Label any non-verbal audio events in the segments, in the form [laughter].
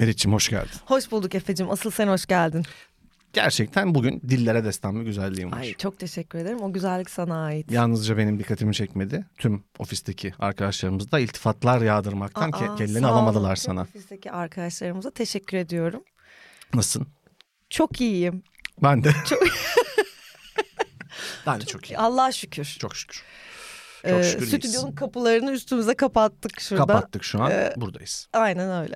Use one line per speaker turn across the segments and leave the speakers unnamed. Elifçim hoş geldin.
Hoş bulduk Efe'cim. Asıl sen hoş geldin.
Gerçekten bugün dillere destan bir güzelliğim var.
Ay çok teşekkür ederim. O güzellik sana ait.
Yalnızca benim dikkatimi çekmedi. Tüm ofisteki arkadaşlarımız da iltifatlar yağdırmaktan
Aa,
ke- kellerini
sağ olun.
alamadılar
Tüm
sana.
Ofisteki arkadaşlarımıza teşekkür ediyorum.
Nasılsın?
Çok iyiyim.
Ben de. [laughs] ben de çok iyi.
E, Allah'a şükür.
Çok şükür. Çok
Ee,
şükür iyiyiz.
stüdyonun kapılarını üstümüze kapattık şurada.
Kapattık şu an.
Ee,
Buradayız.
Aynen öyle.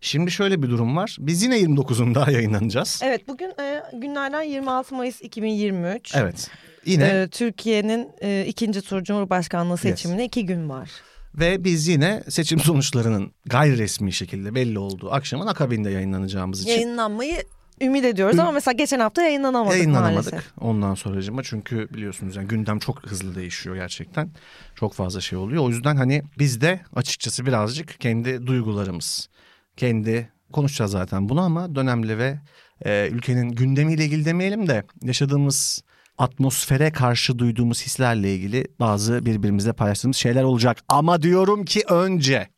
Şimdi şöyle bir durum var. Biz yine 29'unda yayınlanacağız.
Evet bugün e, günlerden 26 Mayıs 2023.
Evet. Yine
Ee, Türkiye'nin e, ikinci tur Cumhurbaşkanlığı seçimine iki gün var.
Ve biz yine seçim sonuçlarının gayri resmi şekilde belli olduğu akşamın akabinde yayınlanacağımız için
Yayınlanmayı ümit ediyoruz ama mesela geçen hafta yayınlanamadık,
yayınlanamadık.
maalesef.
Ondan sonracıma çünkü biliyorsunuz yani gündem çok hızlı değişiyor gerçekten. Çok fazla şey oluyor. O yüzden hani biz de açıkçası birazcık kendi duygularımız, kendi konuşacağız zaten bunu ama dönemli ve e, ülkenin gündemiyle ilgili demeyelim de yaşadığımız atmosfere karşı duyduğumuz hislerle ilgili bazı birbirimizle paylaştığımız şeyler olacak. Ama diyorum ki önce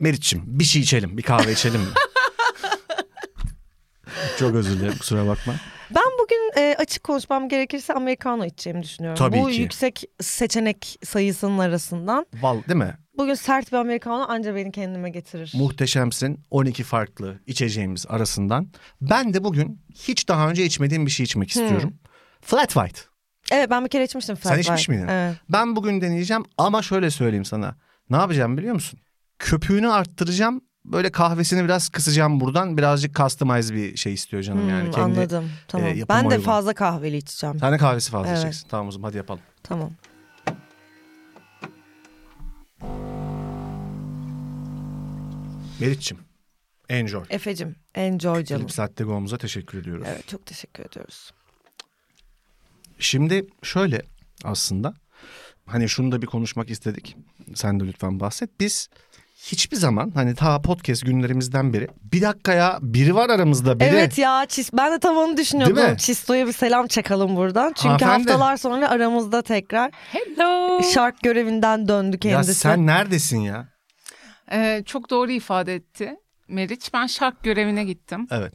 Meriç'im bir şey içelim, bir kahve içelim mi? Çok özür dilerim kusura bakma.
Ben bugün e, açık konuşmam gerekirse Americano içeceğimi düşünüyorum.
Tabii
Bu
ki.
yüksek seçenek sayısının arasından.
Val değil mi?
Bugün sert bir Americano anca beni kendime getirir.
Muhteşemsin. 12 farklı içeceğimiz arasından. Ben de bugün hiç daha önce içmediğim bir şey içmek
Hmm.
istiyorum. Flat white.
evet ben bir kere içmiştim. Fat
Sen içmiş
White.
miydin?
Evet.
Ben bugün deneyeceğim ama şöyle söyleyeyim sana. Ne yapacağım biliyor musun? Köpüğünü arttıracağım. Böyle kahvesini biraz kısacağım buradan. Birazcık customize bir şey istiyor canım yani.
Hmm,
Kendi... e,
anladım. Tamam.
yapıma
ben de
uygun.
fazla kahveli içeceğim.
Sen de kahvesi fazla
Evet.
içeceksin. Tamam o zaman hadi yapalım.
Tamam.
Meriç'ciğim. Enjoy.
Efe'cim enjoy canım.
Philip Sette Gomez'a teşekkür ediyoruz.
Evet çok teşekkür ediyoruz.
Şimdi şöyle aslında hani şunu da bir konuşmak istedik. Sen de lütfen bahset. Biz hiçbir zaman hani ta podcast günlerimizden beri bir dakikaya biri var aramızda biri.
Evet ya Çis, ben de tam onu düşünüyordum.
Değil mi?
Çisto'ya bir selam çakalım buradan. Çünkü
Hanımefendi.
haftalar sonra aramızda tekrar
Hello.
şark görevinden döndü
ya
kendisi.
sen neredesin ya?
Ee, çok doğru ifade etti Meriç. Ben şark görevine gittim.
Evet.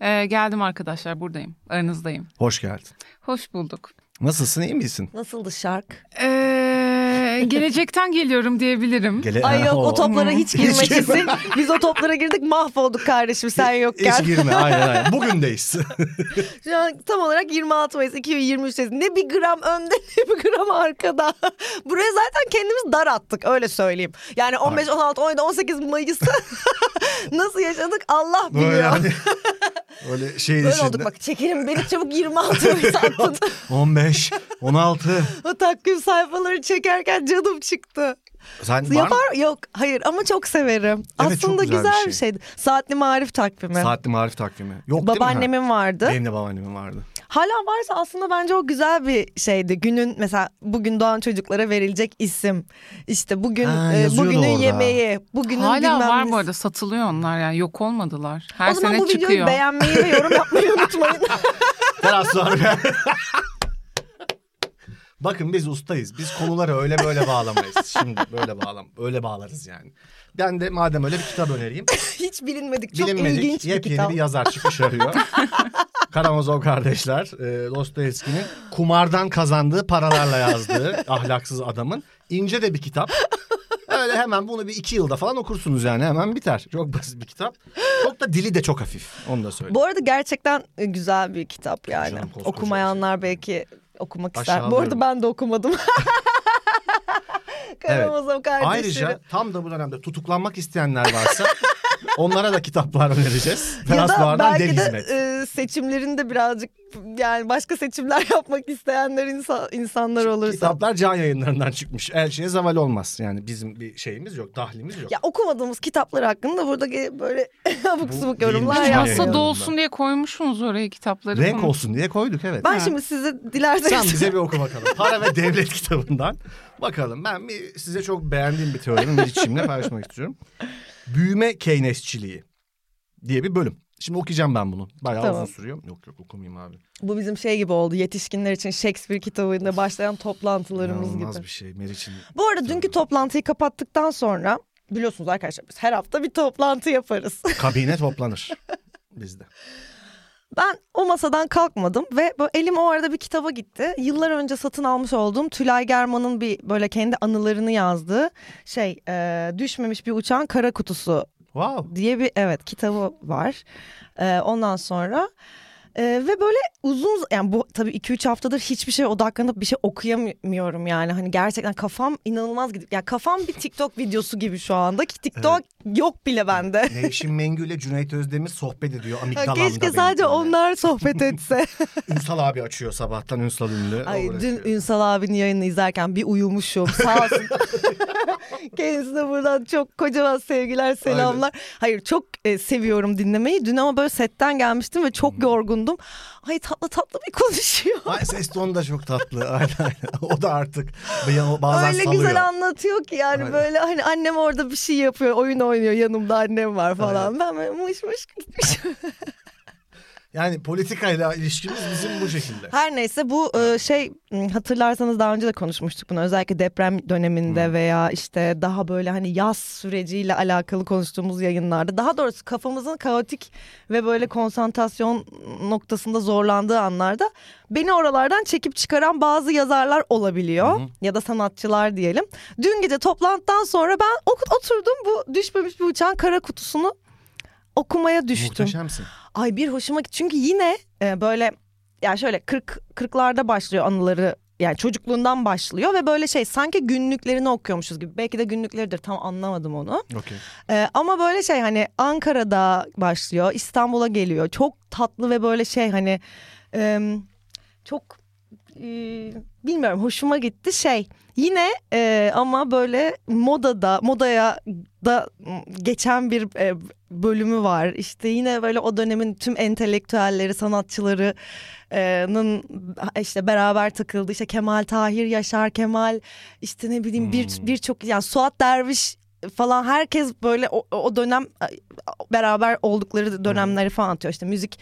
Ee, geldim arkadaşlar buradayım. Aranızdayım.
Hoş geldin.
Hoş bulduk.
Nasılsın iyi misin?
Nasıldı şark?
Ee, gelecekten [laughs] geliyorum diyebilirim.
Gele
Ay
[laughs]
yok o toplara hiç girme
Hiç girme.
kesin. [laughs] Biz o toplara girdik mahvolduk kardeşim sen yokken.
Hiç girme aynen
[laughs]
aynen. Bugündeyiz. [laughs]
Şu an tam olarak 26 Mayıs 2023'teyiz. Ne bir gram önde [laughs] ne bir gram arkada. [laughs] Buraya zaten kendimiz dar attık öyle söyleyeyim. Yani 15, 16, 17, 18 Mayıs'ta [laughs] nasıl yaşadık Allah biliyor.
Böyle
[laughs]
hani böyle şey şeyin
Öyle
içinde.
olduk bak çekelim beni çabuk
[laughs]
26 Mayıs attın.
15,
[laughs]
16.
o takvim sayfaları çekerken canım çıktı.
Sen var mı?
Yapar Yok hayır ama çok severim.
çok
Aslında
güzel bir
güzel,
şey.
bir şeydi. Saatli marif takvimi.
Saatli marif takvimi. Yok değil mi?
Babaannemin vardı.
Benim de babaannemin vardı.
Hala varsa aslında bence o güzel bir şeydi. Günün mesela bugün doğan çocuklara verilecek isim. İşte bugün
Ha,
e,
yazıyordu
bugünün
orada.
yemeği, bugünün
Hala
bilmem
var
nesi.
bu arada satılıyor onlar yani yok olmadılar. Her
O zaman
sene
bu videoyu
çıkıyor.
beğenmeyi ve
[laughs]
yorum yapmayı unutmayın. [laughs]
Biraz sonra. [laughs] Bakın biz ustayız. Biz konuları öyle böyle bağlamayız. Şimdi böyle bağlam, öyle bağlarız yani. Ben de madem öyle bir kitap önereyim.
Hiç bilinmedik, çok
Bilinmedik
ilginç bir
yepyeni
kitap.
bir yazar çıkış
[laughs]
arıyor. Karamazov kardeşler, e, Dostoyevski'nin kumardan kazandığı paralarla yazdığı ahlaksız adamın ince de bir kitap. Öyle hemen bunu bir iki yılda falan okursunuz yani hemen biter. Çok basit bir kitap. Çok da dili de çok hafif. Onu da söyleyeyim.
Bu arada gerçekten e, güzel bir kitap yani.
Canım, koskoca
Okumayanlar belki okumak ister. Bu
Aşağılıyorum.
arada ben de okumadım. [laughs] Karamazov kardeşleri.
Ayrıca tam da bu dönemde tutuklanmak isteyenler varsa [laughs] onlara da kitaplar önereceğiz.
ya da
Teraslardan dev
belki de
hizmet.
e, seçimlerinde birazcık yani başka seçimler [laughs] yapmak isteyenler insan, insanlar olursa.
Kitaplar can yayınlarından çıkmış. Her şeye zeval olmaz. Yani bizim bir şeyimiz yok, dahlimiz yok.
Ya okumadığımız kitaplar hakkında burada ge- böyle [laughs] abuk
Bu şey
subuk
değilmiş
yorumlar
yani.
yapmayalım.
Masada
Beğenmedim
olsun diye koymuşsunuz oraya kitapları.
Renk
Bunu-
olsun diye koyduk evet.
Ben şimdi size [laughs]
Sen
dilerseniz
bize bir oku bakalım. Para ve Devlet kitabından. Bakalım ben bir, size çok beğendiğim bir teorinin bir içimle paylaşmak istiyorum. Büyüme Keynesçiliği diye bir bölüm. Şimdi okuyacağım ben bunu. Bayağı
Tamam.
uzun sürüyor. Yok yok okumayayım abi.
bu bizim şey gibi oldu yetişkinler için Shakespeare kitabında başlayan toplantılarımız
İnanılmaz
gibi.
bir şey Meriç'in.
Bu arada dünkü toplantıyı kapattıktan sonra Biliyorsunuz arkadaşlar biz her hafta bir toplantı yaparız.
Kabine toplanır [laughs] bizde.
Ben o masadan kalkmadım ve böyle elim o arada bir kitaba gitti. Yıllar önce satın almış olduğum Tülay German'ın bir böyle kendi anılarını yazdığı şey e, düşmemiş bir uçağın kara kutusu
Wow.
diye bir evet kitabı var. Ee, ondan sonra e, ve böyle uzun yani bu tabii 2-3 haftadır hiçbir şey odaklanıp bir şey okuyamıyorum yani. Hani gerçekten kafam inanılmaz gidip ya kafam bir TikTok videosu gibi şu anda ki TikTok yok bile bende.
Nevşin Mengü ile Cüneyt Özdemir sohbet ediyor
Ha,
amigdalamda.
Keşke
benim
sadece
böyle.
onlar sohbet etse.
Ünsal abi açıyor sabahtan Ünsal ünlü.
Ay
O
dün
uğraşıyor.
Ünsal abinin yayını izlerken bir uyumuşum sağ
[laughs]
olsun. Kendisine buradan çok kocaman sevgiler selamlar. Hayır çok e, seviyorum dinlemeyi. Dün ama böyle setten gelmiştim ve çok yorgundum. Ay tatlı tatlı bir konuşuyor.
Ay ses tonu da çok tatlı. [laughs] Aynen aynen. O da artık bayan- bazen
Öyle
salıyor.
güzel anlatıyor ki yani
Aynen.
böyle hani annem orada bir şey yapıyor oyun oynuyor yanımda annem var falan. Ben böyle mış mış gitmiş.
Yani politikayla ilişkimiz bizim bu şekilde.
Her neyse bu e, şey m, hatırlarsanız daha önce de konuşmuştuk bunu. Özellikle deprem döneminde veya işte daha böyle hani yaz süreciyle alakalı konuştuğumuz yayınlarda. Daha doğrusu kafamızın kaotik ve böyle konsantrasyon noktasında zorlandığı anlarda beni oralardan çekip çıkaran bazı yazarlar olabiliyor. Ya da sanatçılar diyelim. Dün gece toplantıdan sonra ben okut oturdum bu düşmemiş bir uçağın kara kutusunu okumaya düştüm.
Muhteşemsin.
Ay bir hoşuma gitti. Çünkü yine e, böyle yani şöyle 40 40'larda başlıyor anıları. Yani çocukluğundan başlıyor ve böyle şey sanki günlüklerini okuyormuşuz gibi. Belki de günlükleridir tam anlamadım onu.
Okey.
E, ama böyle şey hani Ankara'da başlıyor, İstanbul'a geliyor. Çok tatlı ve böyle şey hani e, çok e, bilmiyorum hoşuma gitti şey. Yine e, ama böyle modada modaya da geçen bir e, bölümü var. İşte yine böyle o dönemin tüm entelektüelleri, sanatçılarının e, işte beraber takıldı. İşte Kemal Tahir, Yaşar Kemal, işte ne bileyim bir
Hmm.
birçok yani Suat Derviş falan herkes böyle o, o dönem e, beraber oldukları dönemleri falan atıyor. İşte müzik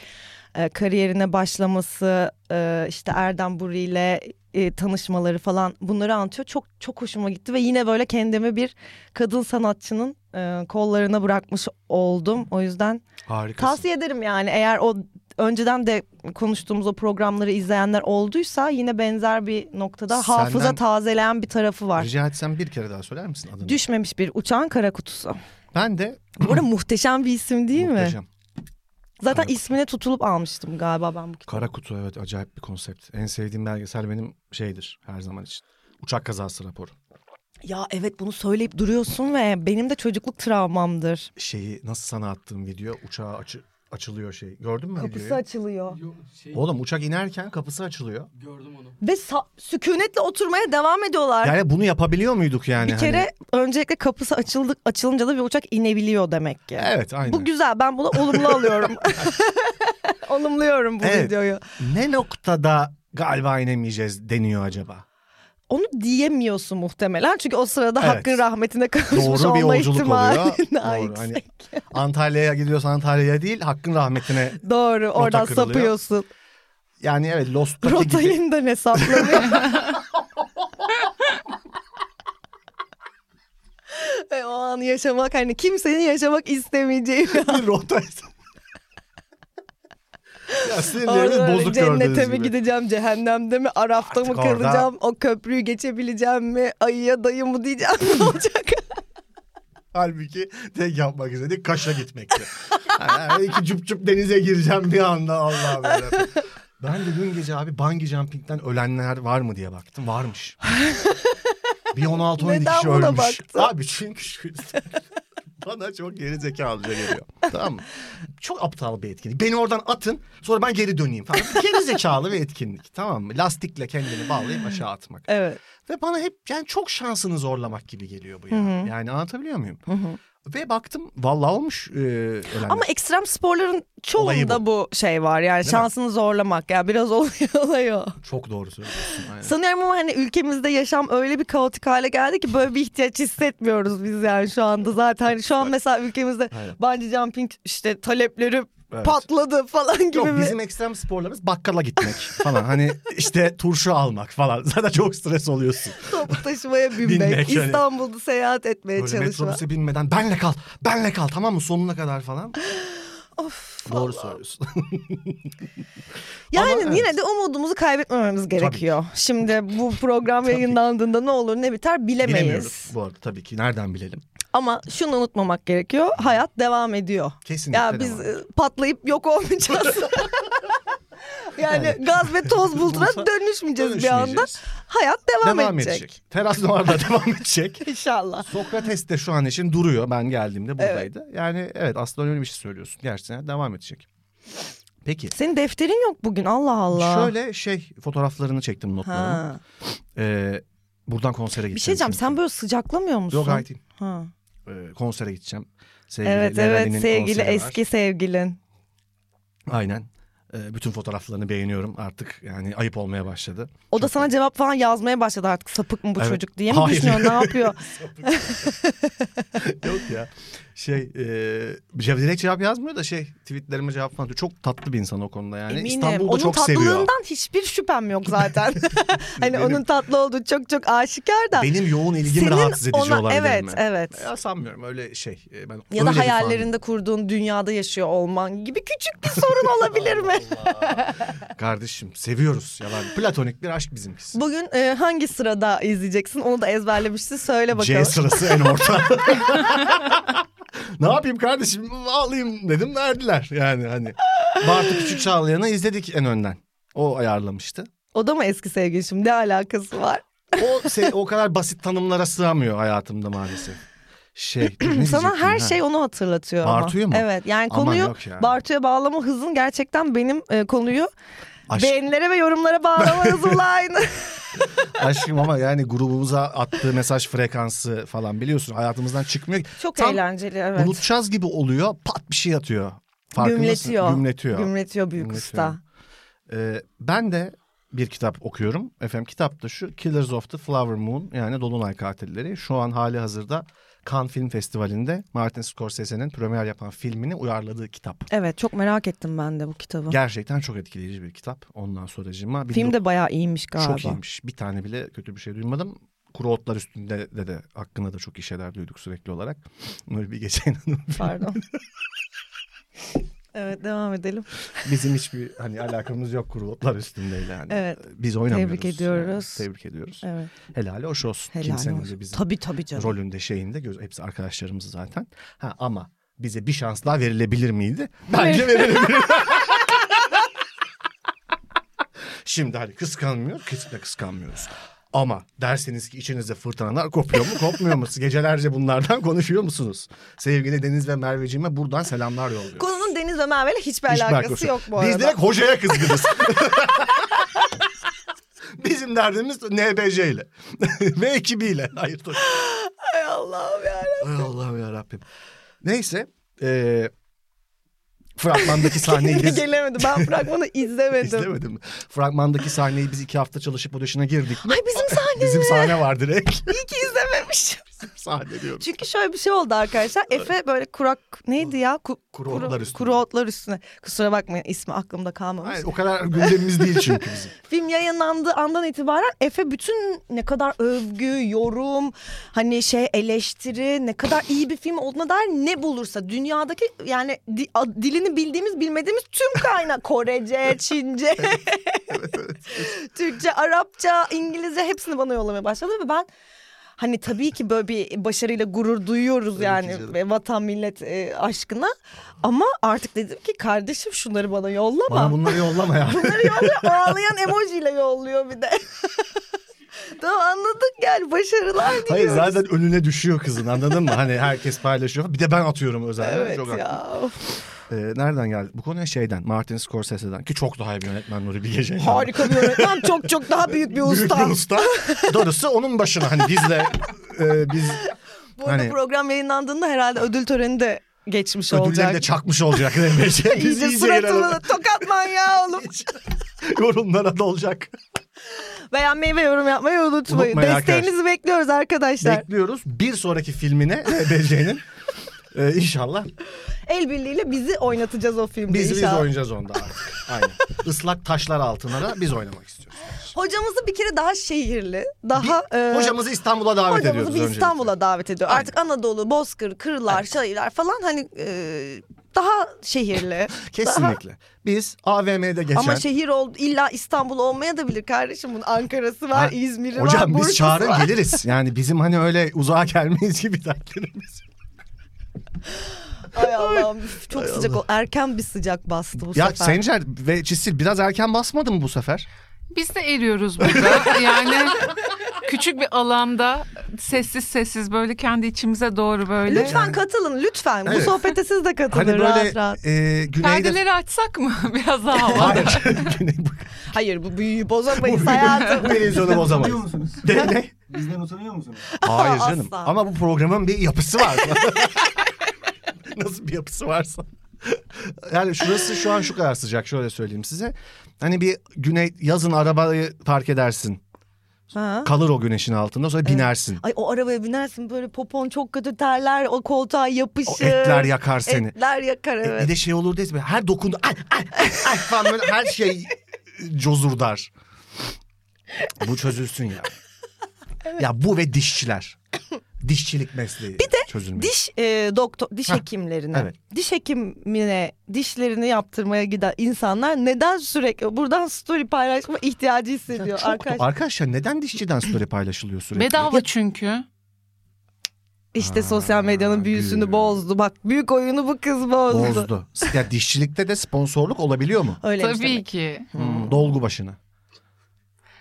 e, kariyerine başlaması, e, işte Erdem Buri ile e, tanışmaları falan bunları anlatıyor. Çok çok hoşuma gitti ve yine böyle kendimi bir kadın sanatçının e, kollarına bırakmış oldum. O yüzden
Harikasın.
tavsiye ederim yani eğer o önceden de konuştuğumuz o programları izleyenler olduysa yine benzer bir noktada
Senden-
hafıza tazeleyen bir tarafı var.
Rica etsem bir kere daha söyler misin adını?
Düşmemiş bir uçağın kara kutusu.
ben de
Bu arada muhteşem bir isim değil mi?
muhteşem.
Zaten
Kara-
ismine tutulup almıştım galiba ben bu kitabı.
Kara Kutu evet acayip bir konsept. En sevdiğim belgesel benim şeydir her zaman için. Uçak kazası raporu.
Ya evet bunu söyleyip duruyorsun ve benim de çocukluk travmamdır.
Şeyi nasıl sana attığım video uçağa açı- açılıyor şey. Gördün mü
Kapısı
videoyu?
açılıyor.
Yo, şey,
Oğlum uçak inerken kapısı açılıyor.
gördüm onu.
Ve sa- sükunetle oturmaya devam ediyorlar.
Yani bunu yapabiliyor muyduk yani?
bir
hani?
kere öncelikle kapısı açıldı, açılınca da bir uçak inebiliyor demek ki.
Hani, Evet aynen.
Bu güzel ben bunu olumlu
[laughs]
alıyorum. [laughs] Olumluyorum bu
Evet.
videoyu.
Ne noktada galiba inemeyeceğiz deniyor acaba?
Onu diyemiyorsun muhtemelen çünkü o sırada
Evet.
Hakk'ın rahmetine kavuşmuş
Doğru bir
olma
yolculuk
[laughs]
oluyor.
ihtimalin daha
Doğru.
yüksek.
Hani Antalya'ya gidiyorsan Antalya'ya değil Hakk'ın rahmetine.
Doğru oradan
kırılıyor.
sapıyorsun.
Yani evet Lost'taki
Rota
gibi.
yeniden hesaplanıyor.
[laughs]
Ve E, o anı yaşamak hani kimsenin yaşamak istemeyeceği
[laughs]
bir an.
bir rota. ya sinirlerimiz
Orada
bozuk
öyle Hani Cennete
gördüğünüz
mi
gibi.
gideceğim, cehennemde mi, Araf'ta mı
Artık orada-
kalacağım, o köprüyü geçebileceğim mi, ayıya dayı mı diyeceğim
[laughs]
ne olacak?
Halbuki tek yapmak istedik Kaş'a gitmekti. [laughs] yani iki cüp cüp denize gireceğim bir anda Allah'ım yarabbim. Ben de dün gece abi bungee jumping'den ölenler var mı diye baktım. Varmış.
[laughs]
bir 16-17
Neden
kişi
buna
ölmüş.
baktın?
Abi çünkü şu- [laughs] bana çok geri zekalıca geliyor. Tamam mı? Çok aptal bir etkinlik. Beni oradan atın sonra ben geri döneyim falan. Geri zekalı bir etkinlik tamam mı? Lastikle kendini bağlayıp aşağı atmak.
Evet.
Ve bana hep yani çok şansını zorlamak gibi geliyor bu ya. Yani anlatabiliyor muyum? Ve baktım vallahi olmuş e, ölenler.
Ama ekstrem sporların
Olayı
çoğunda bu.
bu.
şey var yani
mi?
şansını zorlamak ya biraz [laughs] oluyor oluyor.
Çok doğru söylüyorsun.
[laughs]
Aynen.
Sanıyorum ama hani ülkemizde yaşam öyle bir kaotik hale geldi ki böyle bir ihtiyaç hissetmiyoruz biz yani şu anda zaten. Şu an hani mesela ülkemizde
Aynen.
bungee jumping işte talepleri
Evet.
patladı falan gibi.
Yok
bir-
bizim ekstrem sporlarımız bakkala gitmek falan. Hani işte turşu almak falan. [laughs] Zaten çok stres oluyorsun.
Toplu taşımaya binmek,
Binmek yani.
İstanbul'da seyahat etmeye
Böyle
çalışma.
metrobüse binmeden benle kal, benle kal tamam mı sonuna kadar
[laughs]
falan.
Of,
Doğru
Allah.
söylüyorsun. [laughs]
Yani
Ama
yine de umudumuzu kaybetmememiz gerekiyor. Şimdi bu
[laughs]
program yayınlandığında ne olur ne biter bilemeyiz.
Bilemiyoruz bu arada tabii ki. Nereden bilelim?
Ama şunu unutmamak gerekiyor. Hayat devam ediyor.
Kesinlikle
Ya biz
devam.
e, patlayıp yok olmayacağız.
[laughs]
yani,
Yani.
gaz ve toz bulutuna
Buluta
dönüşmeyeceğiz bir anda.
Dönüşmeyeceğiz.
Hayat devam,
Devam
edecek.
edecek. Teras Noir'da [laughs] devam edecek.
İnşallah.
[laughs] Sokrates de şu an için duruyor. Ben geldiğimde buradaydı. Yani evet aslında öyle bir şey söylüyorsun. Gerçekten devam edecek. Peki.
Senin defterin yok bugün Allah Allah.
Şöyle şey fotoğraflarını çektim notlarını.
Ha.
Ee, buradan konsere gideceğim.
Bir şey diyeceğim
şimdi.
sen böyle sıcaklamıyor musun?
Yok hayır.
Ha.
Ee, konsere gideceğim. Sevgili
Evet
Leyla'nın
evet sevgili
konseri var.
eski sevgilin.
Aynen. Ee, bütün fotoğraflarını beğeniyorum artık. Yani ayıp olmaya
[laughs]
başladı.
O da sana cevap falan yazmaya başladı artık sapık mı bu
Evet.
çocuk diye mi
Hayır.
düşünüyor ne yapıyor?
Yok ya. Şey, e, şey direkt cevap yazmıyor da şey tweetlerime cevap falan. atıyor. Çok tatlı bir insan o konuda [laughs] yani.
Eminim.
İstanbul'da
onun
çok
tatlılığından
seviyor.
hiçbir şüphem yok
[laughs]
zaten. [laughs] hani
Benim-
onun tatlı olduğu çok çok aşikar da.
Benim yoğun ilgim rahatsız edici olabilir
evet
mi?
evet.
Ya sanmıyorum öyle şey. E, Ben
Ya da
öyle bir fan-
hayallerinde kurduğun dünyada yaşıyor olman gibi küçük
[laughs]
bir sorun olabilir mi?
Kardeşim seviyoruz. Ya ben platonik bir aşk bizimkisi.
Bugün e, hangi sırada izleyeceksin? Onu da ezberlemişsin. Söyle bakalım.
C sırası en
[laughs]
orta. ne yapayım kardeşim alayım dedim verdiler yani hani. Bartu Küçük Çağlayan'ı izledik en önden. O ayarlamıştı.
O da mı eski sevgilin şimdi? Ne alakası var?
O se- o kadar basit tanımlara sığamıyor hayatımda maalesef. Şey. ne
Sana
diyecektim ha?
her şey onu hatırlatıyor
Bartu'yu
ama.
mu?
Evet yani
Aman
konuyu
yok ya.
Bartu'ya bağlama hızın gerçekten benim e, konuyu
Aşk-
beğenilere ve yorumlara
[laughs]
bağlama hızımla aynı.
aşkım ama yani grubumuza attığı mesaj frekansı falan biliyorsun hayatımızdan çıkmıyor.
Çok
Tam
eğlenceli evet.
Unutacağız gibi oluyor pat bir şey atıyor. Farkındasın.
Gümletiyor.
Gümletiyor.
Gümletiyor büyük
Gümletiyor.
usta.
Ee, ben de bir kitap okuyorum. Efendim kitap da şu Killers of the Flower Moon yani Dolunay Katilleri. Şu an hali hazırda Cannes Film Festivali'nde Martin Scorsese'nin premier yapan filmini uyarladığı kitap.
Evet çok merak ettim ben de bu kitabı.
Gerçekten çok etkileyici bir kitap. Ondan sonracığıma.
Film de bayağı iyiymiş galiba.
Çok iyiymiş. Bir tane bile kötü bir şey duymadım. Kuru otlar üstünde de de hakkında da çok iyi şeyler duyduk sürekli olarak. [laughs] Nuri bir gece inanın.
Pardon. evet devam edelim.
[laughs] Bizim hiçbir hani alakamız yok kuru otlar üstündeyle. Yani.
Evet.
Biz oynamıyoruz.
Tebrik ediyoruz.
Yani. Tebrik ediyoruz.
Evet.
Helali hoş olsun.
Helal
Kimsenin
olsun.
de bizim
Tabii tabii canım.
rolünde şeyinde göz hepsi arkadaşlarımız zaten. Ha ama bize bir şans daha verilebilir miydi? Bence
[laughs]
verilebilir. [laughs] Şimdi hani kıskanmıyor, kesinlikle kıskanmıyoruz. Ama derseniz ki içinizde fırtınalar kopuyor mu kopmuyor mu? Siz Gecelerce bunlardan konuşuyor musunuz? Sevgili Deniz ve Merveciğime buradan selamlar yolluyorum.
Konunun Deniz ve Merve'yle
Hiçbir
hiçbir alakası
alakası
yok bu arada.
Biz direkt hocaya kızgınız. [laughs] Bizim derdimiz NBC ile [laughs] ve ekibiyle. Hayır tabii.
Ay Allah'ım yarabbim.
Ay Allah'ım ya Rabbim. Neyse. eee fragmandaki
[laughs]
sahneyi biz...
Gelemedim
[laughs]
ben fragmanı izlemedim.
İzlemedim mi? Fragmandaki sahneyi biz iki hafta çalışıp o dışına girdik. mi?
Ay bizim sahne
[laughs] Bizim sahne var direkt. [laughs]
iyi ki izlememişim.
sahne diyorum.
Çünkü şöyle bir şey oldu arkadaşlar. Efe böyle kurak neydi ya? Ku-
Kuru otlar üstüne.
Kuru otlar üstüne. Kusura bakmayın ismi aklımda kalmamış.
Hayır, o kadar gündemimiz değil çünkü
[laughs]
bizim.
Film yayınlandığı andan itibaren Efe bütün ne kadar övgü, yorum, hani şey eleştiri, ne kadar iyi bir film olduğuna dair ne bulursa dünyadaki yani di- a- dilini bildiğimiz bilmediğimiz tüm kaynak [laughs] Korece, Çince, Türkçe, Arapça, İngilizce hepsini bana yollamaya başladı ve ben Hani tabii ki böyle bir başarıyla gurur duyuyoruz yani
canım.
ve vatan millet e, aşkına. Ama artık dedim ki kardeşim şunları bana yollama.
Bana bunları yollama ya.
Bunları yolluyor. Ağlayan emojiyle yolluyor bir de. [laughs] tamam anladık yani başarılar
[laughs]
diliyoruz.
Hayır zaten önüne düşüyor kızın anladın mı? Hani herkes paylaşıyor. Bir de ben atıyorum özellikle.
Evet
Çok haklı.
ya. Of,
Eee, nereden geldi? Bu konuya şeyden Martin Scorsese'den ki çok daha iyi bir yönetmen Nuri Bilge Ceylan.
Harika bir yönetmen. Çok çok daha büyük bir
Büyük
usta.
bir usta. Darısı onun başına hani
[laughs]
bizle e, biz
Bu arada
Hani-
program yayınlandığında herhalde ödül töreni de geçmiş
ödülleri de
olacak.
çakmış olacak. [laughs]
[laughs]
Biz [laughs]
İyice suratını tokat manyağı oğlum.
yorumlara dolacak.
Beğenmeyi ve yorum yapmayı unutmayın.
Unutmayın
Desteğinizi bekliyoruz arkadaşlar.
Bekliyoruz. Bir sonraki filmine Belce'nin Ee, e, inşallah
El birliğiyle bizi oynatacağız o filmde
biz biz
inşallah.
oynayacağız onda artık. Aynen. Islak taşlar altına da biz oynamak istiyoruz.
Hocamızı bir kere daha şehirli, daha... e,
Hocamızı İstanbul'a davet ediyoruz
hocamızı bir
öncelikle.
İstanbul'a davet ediyor. Artık Anadolu, Bozkır, Kırlar, Şairler falan hani e, daha şehirli.
[laughs] Kesinlikle. Biz AVM'de geçen...
Ama şey, şehir ol, illa İstanbul olmaya da bilir kardeşim. Bunun Ankara'sı var,
Ha,
İzmir'i var,
Hocam biz
Bursa'sı
çağırın
var.
geliriz. Yani bizim hani öyle uzağa gelmeyiz gibi dertlerimiz.
Ay Allah'ım üf, çok sıcak ol. Erken bir sıcak bastı bu
ya
sefer.
Sencer ve Çisil biraz erken basmadı mı bu sefer?
Biz de eriyoruz burada. [laughs] yani küçük bir alanda sessiz sessiz böyle kendi içimize doğru böyle.
Lütfen katılın lütfen. Bu
Evet.
sohbete siz de katılın
Hani böyle
rahat rahat.
e, güneyde...
Perdeleri açsak mı [laughs] biraz daha hava?
Hayır. [laughs] Güney...
Hayır bu büyüyü bozamayız
[laughs]
hayatım.
Bu televizyonu
Bizden
bozamayız.
utanıyor musunuz?
De, ne?
Bizden utanıyor musunuz?
Hayır canım.
Asla.
Ama bu programın bir yapısı var. [laughs] Nasıl bir yapısı varsa. Yani şurası şu an şu kadar sıcak şöyle söyleyeyim size. Hani bir güney yazın arabayı park edersin.
Ha?
Kalır o güneşin altında sonra binersin.
Ay o arabaya binersin böyle popon çok kötü terler o koltuğa yapışır.
O etler yakar seni.
Etler yakar
E,
evet.
Bir de şey olur değil mi? Her dokundu. Ay, ay, ay, ay falan böyle her şey cozurdar. Bu çözülsün ya. Ya bu ve dişçiler. Dişçilik mesleği bir de çözülmeli.
Diş e, doktor, diş
Hah,
hekimlerine,
evet.
diş hekimine dişlerini yaptırmaya giden insanlar neden sürekli buradan story paylaşma ihtiyacı hissediyor
Çok-
arkadaşlar?
Arkadaşlar neden dişçiden story paylaşılıyor sürekli?
Bedava çünkü.
İşte sosyal medyanın
Aa,
büyüsünü
gül.
bozdu. Bak büyük oyunu bu kız bozdu.
Bozdu. Ya dişçilikte de sponsorluk olabiliyor mu?
Öyle
Tabii ki.
Hmm, Dolgu başına.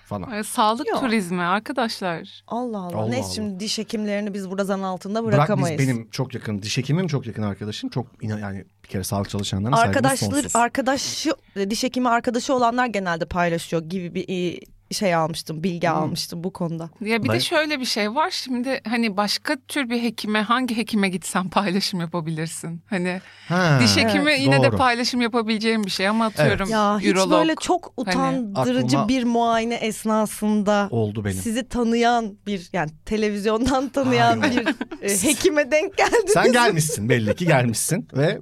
Falan.
Ee, Sağlık
Yok.
turizmi arkadaşlar.
Allah Allah.
Allah
Neyse
Allah.
şimdi diş hekimlerini biz burada zan altında
Bırak
bırakamayız.
biz benim çok yakın diş hekimim çok yakın arkadaşım. Çok inan- yani bir kere sağlık çalışanlarına saygımız
Arkadaşlar,
sonsuz.
arkadaşı, diş hekimi arkadaşı olanlar genelde paylaşıyor gibi bir e, şey almıştım, bilgi
Hmm.
almıştım bu konuda.
Ya bir
Ben-
de şöyle bir şey var şimdi hani başka tür bir hekime hangi hekime gitsen paylaşım yapabilirsin. Hani
Ha,
diş hekimi yine de
doğru.
paylaşım yapabileceğim bir şey ama atıyorum
Ya hiç
ürolog. Hani
böyle çok utandırıcı
aklıma-
bir muayene esnasında
oldu benim.
sizi tanıyan bir yani televizyondan tanıyan
Hayır.
bir
[laughs]
e, hekime denk geldiniz.
Sen gelmişsin belli ki gelmişsin ve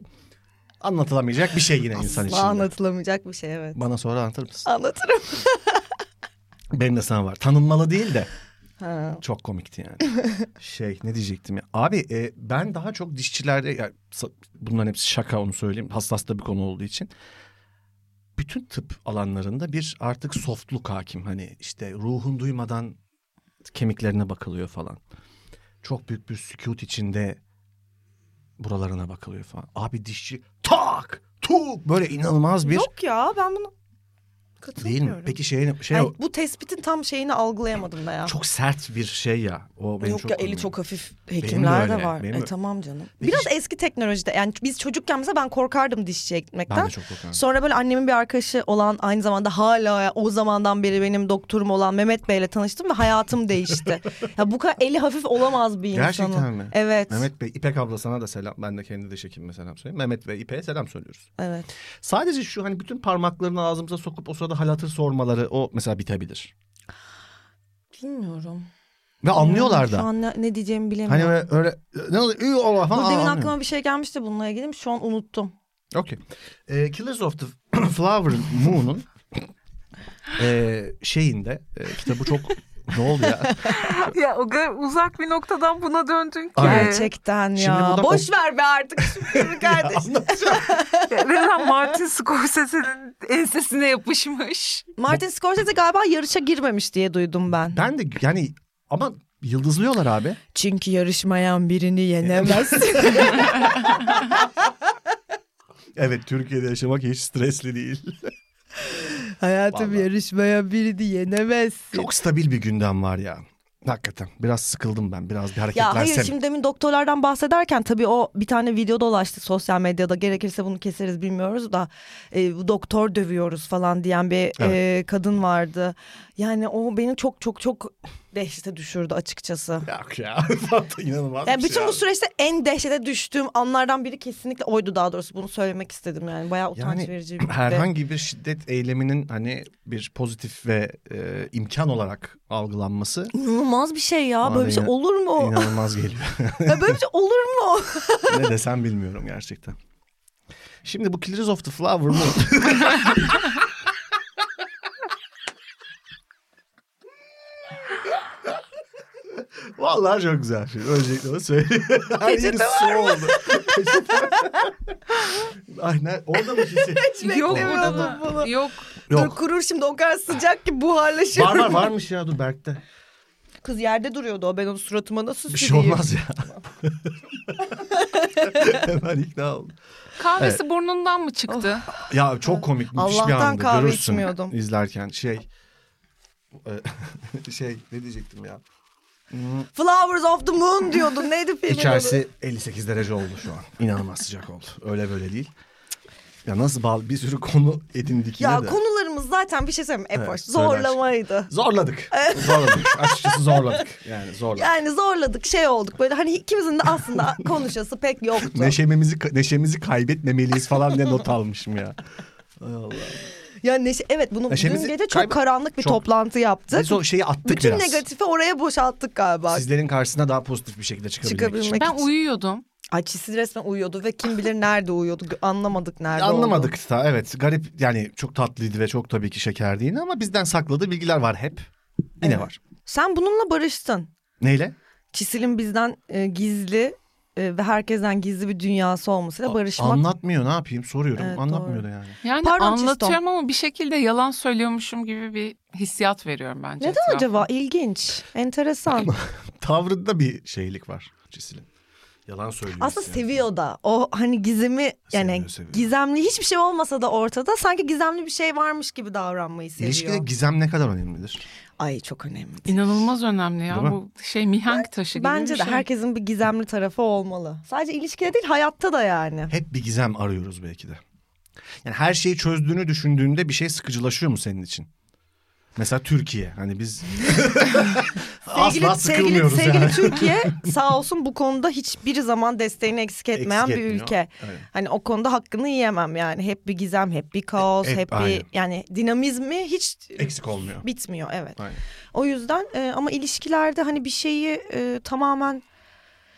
anlatılamayacak bir şey yine insan
Asla
için.
anlatılamayacak bir şey evet.
Bana sonra anlatır mısın?
Anlatırım.
Benim de sana var. Tanınmalı değil de.
Ha.
Çok komikti
[laughs]
yani. şey ne diyecektim ya. Abi e, ben daha çok dişçilerde ya, sa- bunların hepsi şaka onu söyleyeyim. Hassas da bir konu olduğu için. Bütün tıp alanlarında bir artık softluk hakim. Hani işte ruhun duymadan kemiklerine bakılıyor falan. Çok büyük bir sükut içinde buralarına bakılıyor falan. Abi dişçi tak tuk böyle inanılmaz bir
Yok ya ben bunu
değil
katılmıyorum.
mi? Peki şey ne- şey
Ay,
o-
bu tespitin tam şeyini algılayamadım da ya.
çok sert bir şey ya. O benim
Yok
çok
ya eli
komiğim.
çok hafif hekimler de
öyle,
var.
benim
E,
öyle.
tamam canım.
Peki
Biraz
şu-
eski teknolojide yani biz çocukken mesela ben korkardım dişçiye gitmekten.
Ben de çok korkarım.
Sonra böyle annemin bir arkadaşı olan aynı zamanda hala ya- o zamandan beri benim doktorum olan Mehmet Bey'le tanıştım ve
[laughs]
hayatım değişti. ya bu kadar eli hafif olamaz bir insanın.
Gerçekten mi?
Evet.
Mehmet Bey, İpek abla sana da selam. Ben de kendi diş hekimime selam söyleyeyim. Mehmet ve İpek'e selam söylüyoruz.
Evet.
Sadece şu hani bütün parmaklarını ağzımıza sokup o sırada hal hatır sormaları o mesela bitebilir.
Bilmiyorum.
Ve anlıyorlar
Şu
da.
an ne, ne diyeceğimi
Hani
bilemiyorum.
öyle, öyle ne oluyor? Ü, Allah
Bu
falan
demin
anlıyor.
aklıma bir şey gelmişti bununla ilgili. Şu an unuttum.
Okey. Ee, Killers of the [clears throat] Flower Moon'un ee, şeyinde e, kitabı
[laughs]
çok ne oldu ya?
Ya o kadar uzak bir noktadan buna döndün ki.
Aynen.
[laughs]
Gerçekten
Şimdi
ya.
buradan
Boş ver be artık.
[laughs]
Şimdi kardeş.
Anlatacağım.
Neden Martin Scorsese'nin ensesine yapışmış?
Martin Scorsese galiba yarışa girmemiş diye duydum ben.
ben de yani ama yıldızlıyorlar abi.
Çünkü yarışmayan
[laughs]
birini yenemez.
Evet Türkiye'de yaşamak hiç stresli değil.
Hayatım
Vallahi.
yarışmayan birini yenemezsin.
Çok stabil bir gündem var ya. Hakikaten biraz sıkıldım ben. Biraz bir hareketlersem.
Ya hayır şimdi demin doktorlardan bahsederken tabii o bir tane video dolaştı sosyal medyada gerekirse bunu keseriz bilmiyoruz da e, bu doktor dövüyoruz falan diyen bir
Evet.
e, kadın vardı. Yani o beni çok çok çok dehşete düşürdü açıkçası.
[laughs] Yok ya. [laughs] Zaten inanılmaz
Yani
bir
bütün
şey
bu
abi.
süreçte en dehşete düştüğüm anlardan biri kesinlikle oydu daha doğrusu. Bunu söylemek istedim yani. Bayağı utanç
Yani [clears throat]
verici bir
herhangi bir şiddet eyleminin hani bir pozitif ve e, imkan olarak algılanması
İnanılmaz bir şey ya.
Bana
Böyle bir şey
da
olur mu?
inanılmaz geliyor.
[laughs] Ya böyle bir şey olur mu?
ne desem bilmiyorum gerçekten. Şimdi bu Killers of the Flower Moon. Vallahi çok güzel film. Öncelikle onu söyleyeyim. Her yeri
[laughs] Peçete var
su oldu. Peçete- Aynen. Orada mı hissettin?
Yok
beklemiyordum
orada.
bunu.
Yok.
Dur kurur şimdi o kadar sıcak ki buharlaşır.
Var var varmış ya dur Berk'te.
Kız yerde duruyordu o ben onu suratıma nasıl
Bir şey
süreyim?
olmaz ya. [laughs] Hemen ikna oldum.
Kahvesi burnundan mı çıktı?
Ya çok komik müthiş bir
Allah'tan
andı.
kahve
Görürsün
içmiyordum.
izlerken şey. e, [laughs] şey ne diyecektim ya.
Flowers of the Moon diyordun neydi filmin adı?
İçerisi 58 derece oldu şu an. İnanılmaz sıcak oldu. Öyle böyle değil. Ya nasıl bağlı bir sürü konu edindik yine
Ya
de.
konularımız zaten bir şey söyleyeyim mi?
Evet,
Epoş.
söyler.
Zorlamaydı.
Zorladık. zorladık. Açıkçası zorladık. Yani zorladık.
Yani zorladık şey olduk böyle hani ikimizin de
[laughs]
aslında konuşası pek yoktu.
Neşemizi, neşemizi kaybetmemeliyiz falan diye not almışım ya. Ay Allah.
Yani neşe, evet bunu
Neşemizi
dün gece çok
kaybet-
karanlık bir
Çok.
toplantı yaptık.
Biz o şeyi attık
Bütün
biraz.
negatifi oraya boşalttık galiba.
Sizlerin karşısına daha pozitif bir şekilde çıkabilmek,
Çıkabilmek
için.
için.
Ben uyuyordum.
Ay Çisi resmen uyuyordu ve kim bilir nerede uyuyordu. Gö- Anlamadık nerede
Anlamadık
oldu.
da evet garip yani çok tatlıydı ve çok tabii ki şekerliydi ama bizden sakladığı bilgiler var hep. Yine
Evet.
var.
Sen bununla barıştın.
Neyle?
Çisil'in bizden e, gizli e, ve herkesten gizli bir dünyası olmasıyla barışmak.
Anlatmıyor ne yapayım soruyorum
Evet,
anlatmıyor da yani.
Yani
Pardon,
anlatıyorum
Çistom.
ama bir şekilde yalan söylüyormuşum gibi bir hissiyat veriyorum bence.
Neden
etrafa.
acaba? İlginç. Enteresan.
Tavrında bir şeylik var Cisil'in. Yalan söylüyor.
Aslında
yani.
seviyor da. O hani gizemi yani
Seviyor, seviyor.
gizemli hiçbir şey olmasa da ortada sanki gizemli bir şey varmış gibi davranmayı seviyor.
İlişkide gizem ne kadar önemlidir?
Ay çok önemli.
İnanılmaz önemli ya
Değil mi?
bu şey mihenk taşı gibi
Bence
bir
de
şey.
herkesin bir gizemli tarafı olmalı. Sadece ilişkide değil hayatta da yani.
Hep bir gizem arıyoruz belki de. Yani her şeyi çözdüğünü düşündüğünde bir şey sıkıcılaşıyor mu senin için? Mesela Türkiye hani
[laughs]
biz
Sevgili,
[laughs] asla
sevgili,
sıkılmıyoruz
sevgili
yani. [laughs]
Türkiye sağ olsun bu konuda hiçbir zaman desteğini eksik etmeyen
Eksik
bir
etmiyor.
ülke.
Evet.
Hani o konuda hakkını yiyemem yani. Hep bir gizem, hep bir kaos,
Hep- E,
hep, bir
aynen.
yani dinamizmi hiç
Eksik olmuyor.
bitmiyor evet.
Aynen.
O yüzden e, ama ilişkilerde hani bir şeyi e, tamamen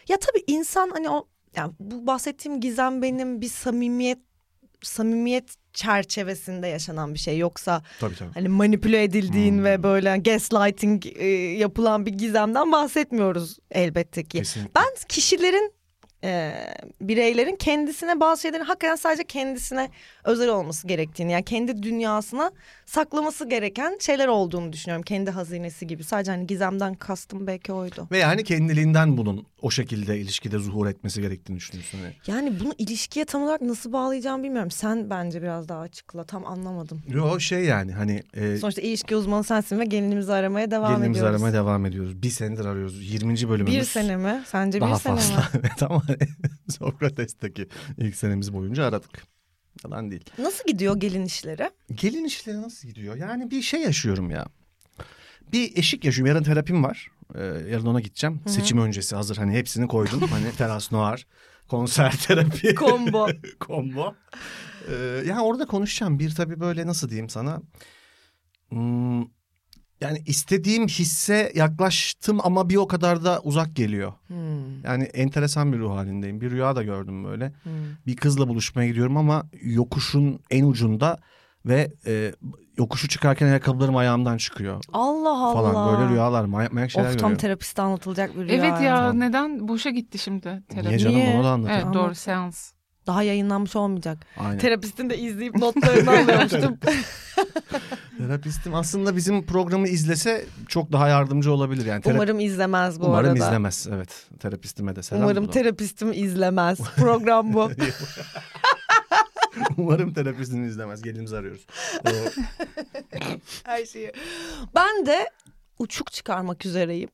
ya tabii insan hani o yani bu bahsettiğim gizem benim bir samimiyet samimiyet çerçevesinde yaşanan bir şey yoksa
Tabii tabii.
hani manipüle edildiğin ve böyle gaslighting e, yapılan bir gizemden bahsetmiyoruz elbette ki.
Kesinlikle.
Ben kişilerin e, bireylerin kendisine bazı şeylerin hakikaten sadece kendisine özel olması gerektiğini yani kendi dünyasına saklaması gereken şeyler olduğunu düşünüyorum. Kendi hazinesi gibi sadece hani gizemden kastım belki oydu.
Ve yani kendiliğinden bunun o şekilde ilişkide zuhur etmesi gerektiğini düşünüyorsun. Yani.
Yani bunu ilişkiye tam olarak nasıl bağlayacağımı bilmiyorum. Sen bence biraz daha açıkla tam anlamadım.
Yo şey yani hani e,
Sonuçta ilişki uzmanı sensin ve gelinimizi aramaya devam
gelinimizi
ediyoruz.
aramaya devam ediyoruz. Bir senedir arıyoruz. 20. bölümümüz.
Bir sene mi? Sence
Daha
bir sene mi?
fazla. [laughs] Evet ama Sokrates'teki ilk senemiz boyunca aradık. Yalan değil.
Nasıl gidiyor gelin işleri?
Gelin işleri nasıl gidiyor? Yani bir şey yaşıyorum ya. Bir eşik yaşıyorum. Yarın terapim var. Ee, yarın ona gideceğim. Seçim öncesi hazır. Hani hepsini koydum. hani teras noir, konser
[laughs]
terapi. [laughs]
Combo.
Combo. Ee, yani orada konuşacağım. Bir tabii böyle nasıl diyeyim sana. Hmm, yani istediğim hisse yaklaştım ama bir o kadar da uzak geliyor.
Hmm,
Yani enteresan bir ruh halindeyim. Bir rüya da gördüm böyle.
hmm.
Bir kızla buluşmaya gidiyorum ama yokuşun en ucunda ve e, yokuşu çıkarken ayakkabılarım ayağımdan çıkıyor
Allah Allah.
falan. Böyle rüyalar, manyak manyak şeyler
Of tam
görüyorum.
terapiste anlatılacak bir rüya.
Evet ya
Tamam.
neden boşa gitti şimdi terapi?
Niye canım
Niye?
bunu da anlatayım.
Evet
Anlat.
doğru seans.
Daha yayınlanmış olmayacak.
Aynen.
Terapistin de izleyip [laughs] notlarını alıyormuştum.
Terapistim aslında bizim programı izlese çok daha yardımcı olabilir. Yani terapi-
Umarım izlemez bu
Umarım
arada.
izlemez. Evet. Terapistime de selam.
Umarım
buradan. [laughs]
terapistim izlemez. Program bu.
Umarım terapistini izlemez. Gelimizi arıyoruz. Ee,
Her şeyi. Ben de uçuk çıkarmak üzereyim.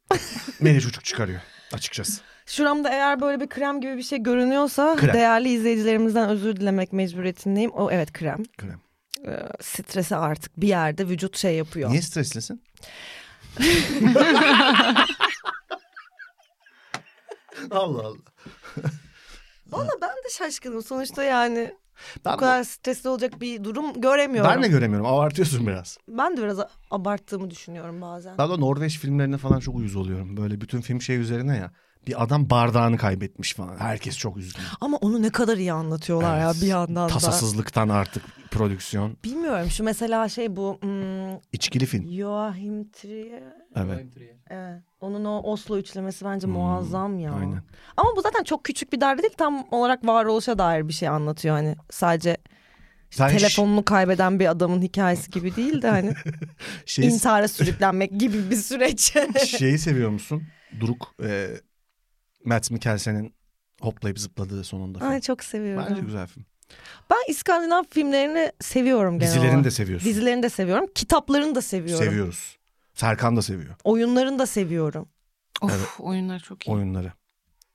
Beni çocuk çıkarıyor
[laughs]
açıkçası.
Şuramda eğer böyle bir krem gibi bir şey görünüyorsa
Krem.
değerli izleyicilerimizden özür dilemek mecburiyetindeyim. O evet krem.
Krem.
Ee, stresi artık bir yerde vücut şey yapıyor. [laughs]
Niye streslisin? Allah Allah.
Valla ben de şaşkınım sonuçta yani
Ben,
bu kadar stresli olacak bir durum göremiyorum.
ben de göremiyorum. Abartıyorsun biraz.
Ben de biraz a- abarttığımı düşünüyorum bazen.
Ben de Norveç filmlerine falan çok uyuz oluyorum. Böyle bütün film şey üzerine ya. Bir adam bardağını kaybetmiş falan. Herkes çok üzgün.
Ama onu ne kadar iyi anlatıyorlar
Evet.
ya bir yandan da.
Tasasızlıktan artık prodüksiyon.
Bilmiyorum şu mesela şey bu hmm,
İçkili film.
Joachim Trier.
Evet.
Evet. Onun o Oslo üçlemesi bence muazzam ya.
Hmm, aynen.
Ama bu zaten çok küçük bir derdi değil tam olarak varoluşa dair bir şey anlatıyor hani sadece işte
Sen ş-
telefonunu kaybeden bir adamın hikayesi gibi değil
[laughs]
de hani
Şeyi,
intihara sürüklenmek gibi
[laughs]
bir süreç.
şeyi seviyor musun? Duruk e, Matt Mikkelsen'in hoplayıp zıpladığı sonunda. film.
Ay çok seviyorum.
Bence güzel film.
Ben İskandinav filmlerini seviyorum genel
Dizilerini
olarak.
de seviyorsun.
Dizilerini de seviyorum. Kitaplarını da seviyorum.
Seviyoruz. Serkan da seviyor
Oyunlarını da seviyorum.
Of oyunlar çok iyi.
oyunları.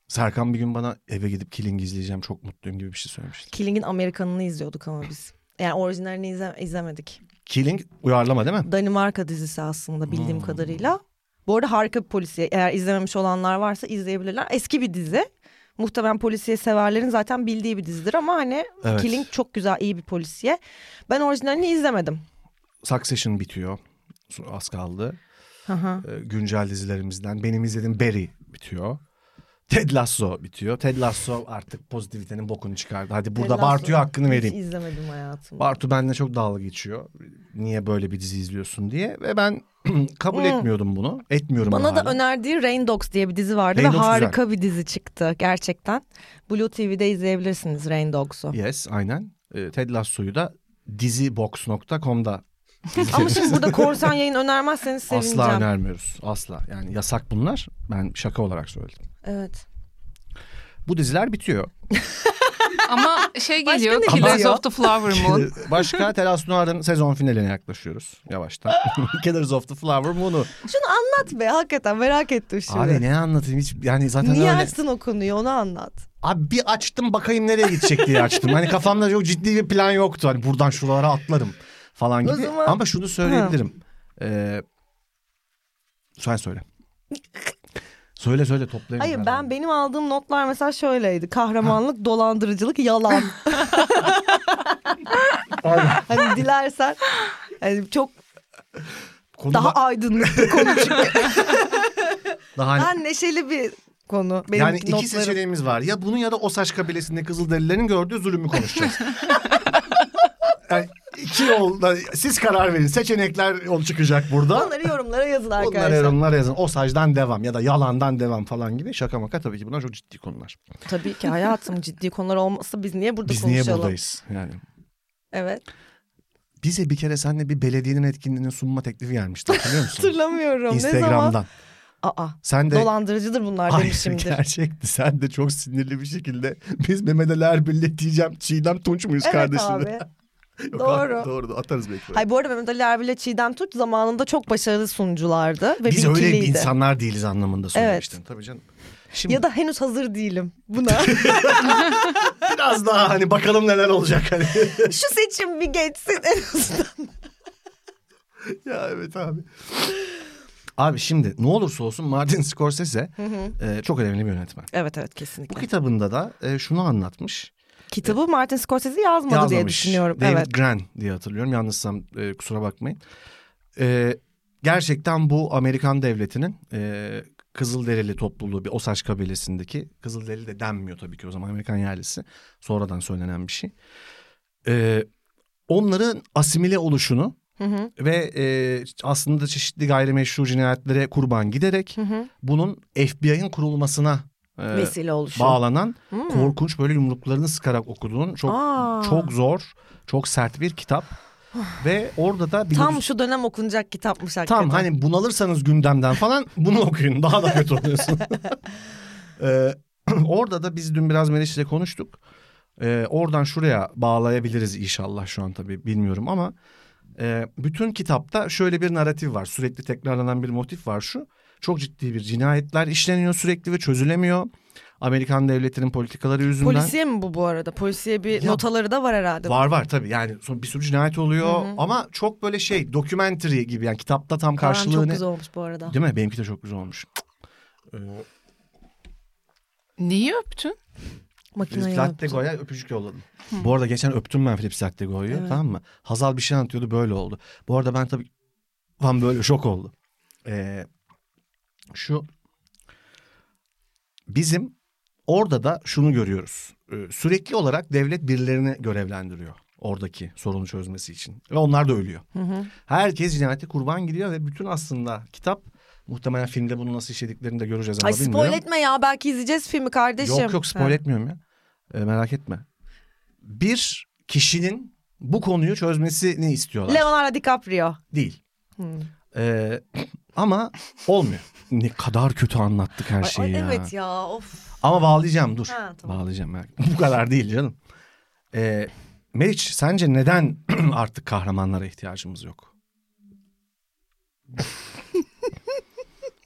Serkan bir gün bana eve gidip Killing izleyeceğim çok mutluyum gibi bir şey söylemişti.
Killing'in Amerikanını izliyorduk ama biz. Yani orijinalini izle- izlemedik.
Killing uyarlama değil mi?
Danimarka dizisi aslında
Hmm.
bildiğim kadarıyla. Bu arada harika bir polisiye. Eğer izlememiş olanlar varsa izleyebilirler. Eski bir dizi. Muhtemelen polisiye severlerin zaten bildiği bir dizidir ama hani
Evet.
Killing çok güzel, iyi bir polisiye. Ben orijinalini izlemedim.
Succession bitiyor. Az kaldı.
Hı hı.
Ee, güncel dizilerimizden. Benim izlediğim Barry bitiyor. Ted Lasso bitiyor. Ted Lasso artık pozitivitenin bokunu çıkardı. Hadi burada
Ted Lasso.
Bartu'ya hakkını vereyim.
Hiç izlemedim hayatımda.
Bartu benimle çok dalga geçiyor. Niye böyle bir dizi izliyorsun diye. Ve ben [clears throat] kabul etmiyordum bunu. Etmiyorum
Bana da
hala.
önerdiği Rain Dogs diye bir dizi vardı
Rain
ve
Dogs
harika bir dizi çıktı gerçekten. Blue TV'de izleyebilirsiniz Rain Dogs'u.
Yes aynen. Ee, Ted Lasso'yu da dizibox.com'da
Ama şimdi burada korsan yayın önermezseniz sevineceğim.
asla önermiyoruz. Asla. Yani yasak bunlar. Ben şaka olarak söyledim.
Evet.
Bu diziler bitiyor.
Ama şey
Başka
geliyor.
ne
Killers
geliyor?
of the Flower Moon.
[laughs] Başka Teras Noir'ın sezon finaline yaklaşıyoruz
[laughs]
yavaştan. Killers of the Flower Moon'u.
Şunu anlat be hakikaten merak ettim şimdi.
Abi ne anlatayım hiç yani zaten
Niye
öyle.
açtın o konuyu onu anlat.
Abi bir açtım bakayım nereye gidecek diye açtım. Hani kafamda çok ciddi bir plan yoktu. Hani buradan şuralara atlarım falan
O
gibi.
zaman-
Ama şunu söyleyebilirim. Ee, sen
[laughs]
söyle. Söyle söyle toplayayım.
Hayır ben
beraber.
benim aldığım notlar mesela şöyleydi. Kahramanlık,
[laughs]
dolandırıcılık, yalan. hani dilersen hani çok
Konu
daha
daha,
aydınlık bir konu çünkü.
daha [laughs] hani-
Daha neşeli bir konu benim
yani iki
notlarım.
seçeneğimiz var. Ya bunu ya da o saç kabilesinde Kızılderililerin gördüğü zulümü
[laughs]
konuşacağız. yani iki yolda siz karar verin. Seçenekler yol çıkacak burada.
Onları yorumlara yazın
Bunlar
arkadaşlar.
yorumlar yazın. O saçtan devam ya da yalandan devam falan gibi. Şaka maka tabii ki bunlar çok ciddi konular.
Tabii ki hayatım ciddi konular olmasa biz niye burada
Biz niye
konuşalım?
buradayız? Yani
Evet.
bize bir kere seninle bir belediyenin etkinliğinin sunma teklifi gelmişti hatırlıyor musun?
[laughs] Hatırlamıyorum ne zaman?
Instagram'dan.
Aa,
Sen de
dolandırıcıdır bunlar
Hayır, [laughs]
demişimdir.
gerçekti. Sen de çok sinirli bir şekilde biz Mehmet Ali Erbil'le diyeceğim Çiğdem Tunç muyuz
Evet
kardeşim?
abi.
[laughs] Yok,
doğru.
abi, [laughs] doğru. Atarız belki.
Hayır bu arada Mehmet Ali Erbil ile Çiğdem Türk zamanında çok başarılı sunuculardı ve
Biz
bilgiliydi.
öyle bir insanlar değiliz anlamında söylemiştin. Tabii canım. Şimdi
Ya da henüz hazır değilim
[laughs]
buna.
biraz daha hani bakalım neler olacak hani.
[laughs] Şu seçim bir geçsin en azından.
ya evet abi. Abi şimdi ne olursa olsun Martin Scorsese e, çok önemli bir yönetmen.
Evet evet
Bu
kesinlikle.
kitabında da e, şunu anlatmış.
Kitabı Martin Scorsese yazmadı diye
Yazmamış.
düşünüyorum.
David
evet.
Gran diye hatırlıyorum. Yanlışsam e, kusura bakmayın. E, gerçekten bu Amerikan devletinin e, Kızılderili topluluğu bir Osage kabilesindeki Kızılderili de denmiyor tabii ki o zaman Amerikan yerlisi. Sonradan söylenen bir şey. E, onların asimile oluşunu ve e, aslında çeşitli gayrimeşru cinayetlere kurban giderek bunun FBI'ın kurulmasına e,
Vesile şey. oluşu. Hmm.
bağlanan korkunç böyle yumruklarını sıkarak okuduğun çok
Aa. Ah.
çok zor, çok sert bir kitap. Ve orada da bir
Tam şu dönem okunacak kitapmış hakikaten.
Tam hani bunalırsanız gündemden falan
[laughs]
bunu okuyun. Daha da kötü oluyorsun. Ee, [clears throat] orada da biz dün biraz Meriç'le konuştuk. Ee, oradan şuraya bağlayabiliriz inşallah şu an tabii bilmiyorum ama e, bütün kitapta şöyle bir narratif var. Sürekli tekrarlanan bir motif var şu. Çok ciddi bir cinayetler işleniyor sürekli ve çözülemiyor. Amerikan devletinin politikaları yüzünden.
Polisiye mi bu bu arada? Polisiye bir
Ya-
notaları da var herhalde.
Var var tabii yani son- bir sürü cinayet oluyor ama çok böyle şey documentary gibi yani kitapta tam
Kaan
karşılığı
çok
ne?
güzel olmuş bu arada.
Değil mi? Benimki de çok güzel olmuş. Ee,
Niye öptün?
Makinayı
Philip Goya öpücük yolladım. Bu arada geçen öptüm ben Philip Lattegoy'u tamam mı? Hazal bir şey anlatıyordu böyle oldu. Bu arada ben tabii ben böyle şok oldum. Ee, şu bizim orada da şunu görüyoruz. Ee, sürekli olarak devlet birilerini görevlendiriyor oradaki sorunu çözmesi için. Ve onlar da ölüyor. Herkes cinayete kurban gidiyor ve bütün aslında kitap muhtemelen filmde bunu nasıl işlediklerini de göreceğiz ama
Ay
bilmiyorum.
spoil etme ya belki izleyeceğiz filmi kardeşim.
Yok yok spoil etmiyorum ya. E, merak etme. Bir kişinin bu konuyu çözmesini istiyorlar.
Leonardo DiCaprio.
Değil.
Hmm.
E, ama olmuyor. Ne kadar kötü anlattık her
Ay,
şeyi
ay,
ya.
Evet ya of.
Ama bağlayacağım dur.
Ha, tamam.
Bağlayacağım. merak- [laughs] bu kadar değil canım. E, Meriç sence neden [clears throat] artık kahramanlara ihtiyacımız
[laughs]
yok?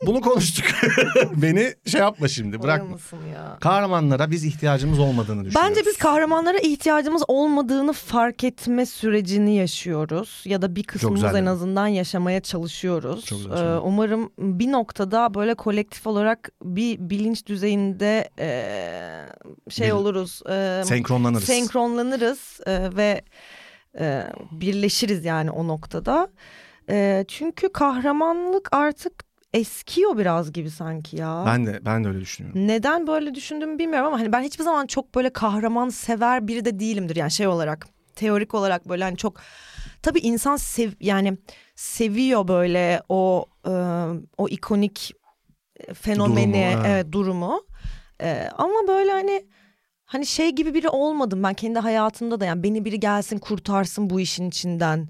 Bunu konuştuk. [laughs] Beni şey yapma
E,
şimdi bırakma.
Bırakmasın ya.
Kahramanlara biz ihtiyacımız olmadığını düşünüyoruz.
Bence biz kahramanlara ihtiyacımız olmadığını fark etme sürecini yaşıyoruz ya da bir kısmımız
güzel
en
dedin.
azından yaşamaya çalışıyoruz.
Çok güzel
Ee,
söyledin.
umarım bir noktada böyle kolektif olarak bir bilinç düzeyinde eee, şey
Bil-
oluruz. eee,
Senkronlanırız.
senkronlanırız e, ve e, birleşiriz yani o noktada. E, çünkü kahramanlık artık eskiyor biraz gibi sanki ya.
Ben de ben de öyle düşünüyorum.
Neden böyle düşündüğümü bilmiyorum ama hani ben hiçbir zaman çok böyle kahraman sever biri de değilimdir yani şey olarak teorik olarak böyle hani çok tabii insan sev yani seviyor böyle o e, o ikonik e, fenomeni
Durumu, ha.
evet, durumu E, ama böyle hani hani şey gibi biri olmadım ben kendi hayatımda da yani beni biri gelsin kurtarsın bu işin içinden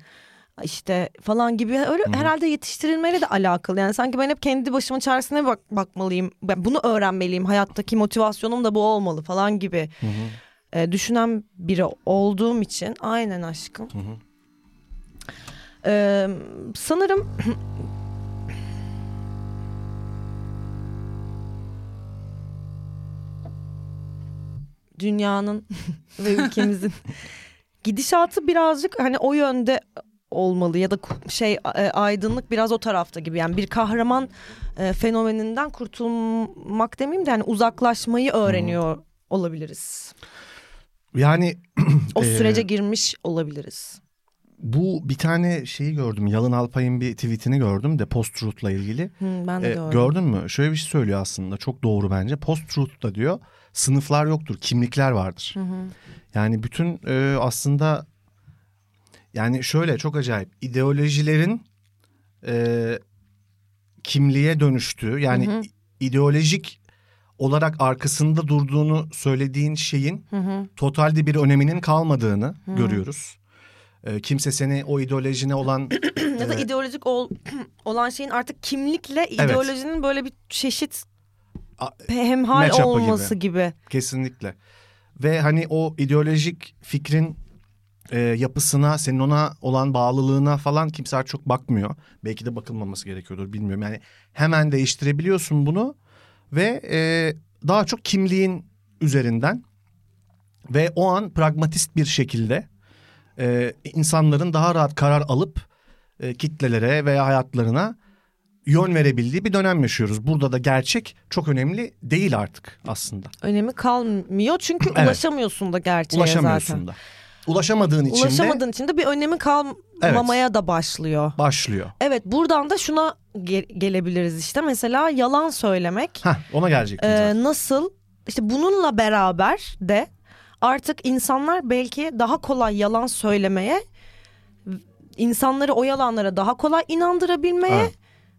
işte falan gibi öyle herhalde yetiştirilmeyle de alakalı. Yani sanki ben hep kendi başımın çaresine bak bakmalıyım. Ben bunu öğrenmeliyim. Hayattaki motivasyonum da bu olmalı falan gibi. e, düşünen biri olduğum için aynen aşkım. E, sanırım dünyanın [laughs] ve ülkemizin gidişatı birazcık hani o yönde olmalı ya da ku- şey e, aydınlık biraz o tarafta gibi yani bir kahraman e, fenomeninden kurtulmak demeyeyim de yani uzaklaşmayı öğreniyor olabiliriz.
Yani
O
Ee,
sürece girmiş olabiliriz.
bu bir tane şeyi gördüm. Yalın Alpay'ın bir tweetini gördüm de post-truth'la ilgili.
Hı, ben de
Ee,
gördüm.
gördün mü? Şöyle bir şey söylüyor aslında. Çok doğru bence. Post-truth'ta diyor sınıflar yoktur, kimlikler vardır. Yani bütün e, aslında yani şöyle çok acayip ideolojilerin e, kimliğe dönüştüğü yani ideolojik olarak arkasında durduğunu söylediğin şeyin totalde bir öneminin kalmadığını görüyoruz. E, kimse seni o ideolojine olan
ya da ideolojik ol- [clears throat] olan şeyin artık kimlikle ideolojinin böyle bir çeşit
A-
hemhal
match up'ı
olması gibi.
Kesinlikle. Ve hani o ideolojik fikrin e, yapısına, senin ona olan bağlılığına falan kimse artık çok bakmıyor. Belki de bakılmaması gerekiyordur bilmiyorum. Yani hemen değiştirebiliyorsun bunu ve e, daha çok kimliğin üzerinden ve o an pragmatist bir şekilde e, insanların daha rahat karar alıp e, kitlelere veya hayatlarına yön verebildiği bir dönem yaşıyoruz. Burada da gerçek çok önemli değil artık aslında.
Önemi kalmıyor çünkü
Evet.
ulaşamıyorsun da gerçeğe
Ulaşamıyorsun
zaten.
da. Ulaşamadığın için de
Ulaşamadığın için de bir önemi kalmamaya da başlıyor.
başlıyor.
Evet buradan da şuna ge- gelebiliriz işte mesela yalan söylemek
Hah ona gelecektim
Ee,
zaten.
nasıl işte bununla beraber de artık insanlar belki daha kolay yalan söylemeye insanları o yalanlara daha kolay inandırabilmeye
Evet.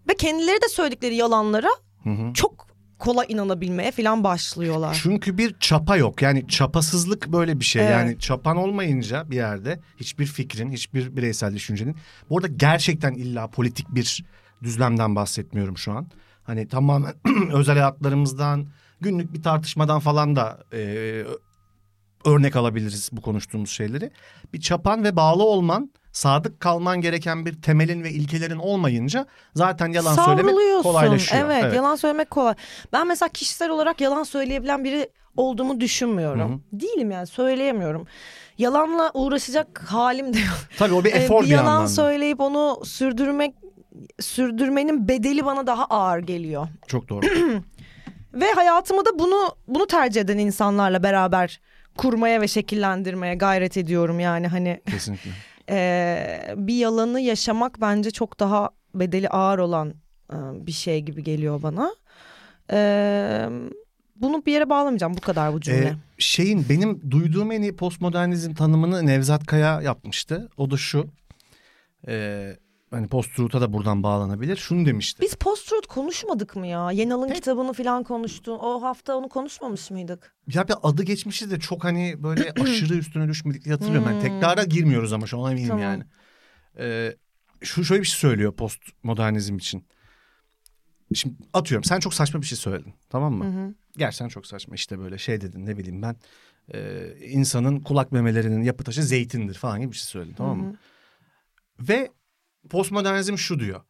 ve kendileri de söyledikleri yalanlara
Hı hı.
çok kolay inanabilmeye falan başlıyorlar.
Çünkü bir çapa yok. Yani çapasızlık böyle bir şey.
Evet.
Yani çapan olmayınca bir yerde hiçbir fikrin, hiçbir bireysel düşüncenin. Bu arada gerçekten illa politik bir düzlemden bahsetmiyorum şu an. Hani [clears throat] tamamen özel hayatlarımızdan, günlük bir tartışmadan falan da e, örnek alabiliriz bu konuştuğumuz şeyleri. Bir çapan ve bağlı olman, sadık kalman gereken bir temelin ve ilkelerin olmayınca zaten yalan söylemek
Savruluyorsun.
kolaylaşıyor.
Evet, yalan söylemek kolay. Ben mesela kişisel olarak yalan söyleyebilen biri olduğumu düşünmüyorum. Değilim yani söyleyemiyorum. Yalanla uğraşacak halim de yok.
Tabii o bir
Ee,
efor bir,
bir yalan
yandan. da.
söyleyip onu sürdürmek sürdürmenin bedeli bana daha ağır geliyor.
Çok
[clears throat]
doğru.
Ve hayatımı da bunu bunu tercih eden insanlarla beraber kurmaya ve şekillendirmeye gayret ediyorum yani hani
Kesinlikle.
Ee, bir yalanı yaşamak bence çok daha bedeli ağır olan e, bir şey gibi geliyor bana. Ee, bunu bir yere bağlamayacağım bu kadar bu cümle.
Ee, şeyin benim duyduğum en iyi postmodernizm tanımını Nevzat Kaya yapmıştı. O da şu. Ee, hani post-truth'a da buradan bağlanabilir. Şunu demişti.
Biz post-truth konuşmadık mı ya? Yenal'ın kitabını falan konuştun. O hafta onu konuşmamış mıydık?
Ya bir adı geçmişiz de çok hani böyle aşırı üstüne düşmedik diye hatırlıyorum. Yani tekrara girmiyoruz ama şu an eminim
Tamam.
yani. Ee, şu şöyle bir şey söylüyor postmodernizm için. Şimdi atıyorum sen çok saçma bir şey söyledin tamam mı? Gerçekten çok saçma işte böyle şey dedin ne bileyim ben. e, insanın kulak memelerinin yapı taşı zeytindir falan gibi bir şey söyledin tamam mı? Ve postmodernizm şu diyor.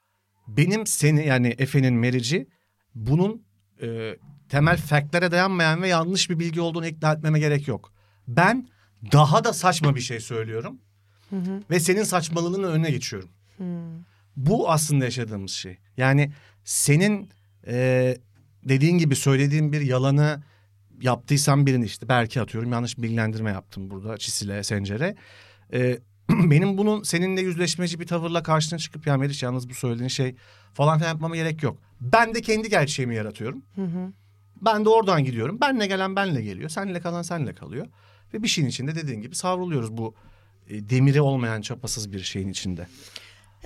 Benim seni yani Efe'nin merici bunun e, temel fact'lere dayanmayan ve yanlış bir bilgi olduğunu ikna etmeme gerek yok. Ben daha da saçma bir şey söylüyorum ve senin saçmalığının önüne geçiyorum. Bu aslında yaşadığımız şey. Yani senin e, dediğin gibi söylediğin bir yalanı yaptıysan birini işte belki atıyorum yanlış bilgilendirme yaptım burada Çisile, Sencer'e. E, [clears throat] benim bunun seninle yüzleşmeci bir tavırla karşına çıkıp ya Meriç yalnız bu söylediğin şey falan filan yapmama gerek yok. Ben de kendi gerçeğimi yaratıyorum. Ben de oradan gidiyorum. Benle gelen benle geliyor. Senle kalan senle kalıyor. Ve bir şeyin içinde dediğin gibi savruluyoruz bu e, demiri olmayan çapasız bir şeyin içinde.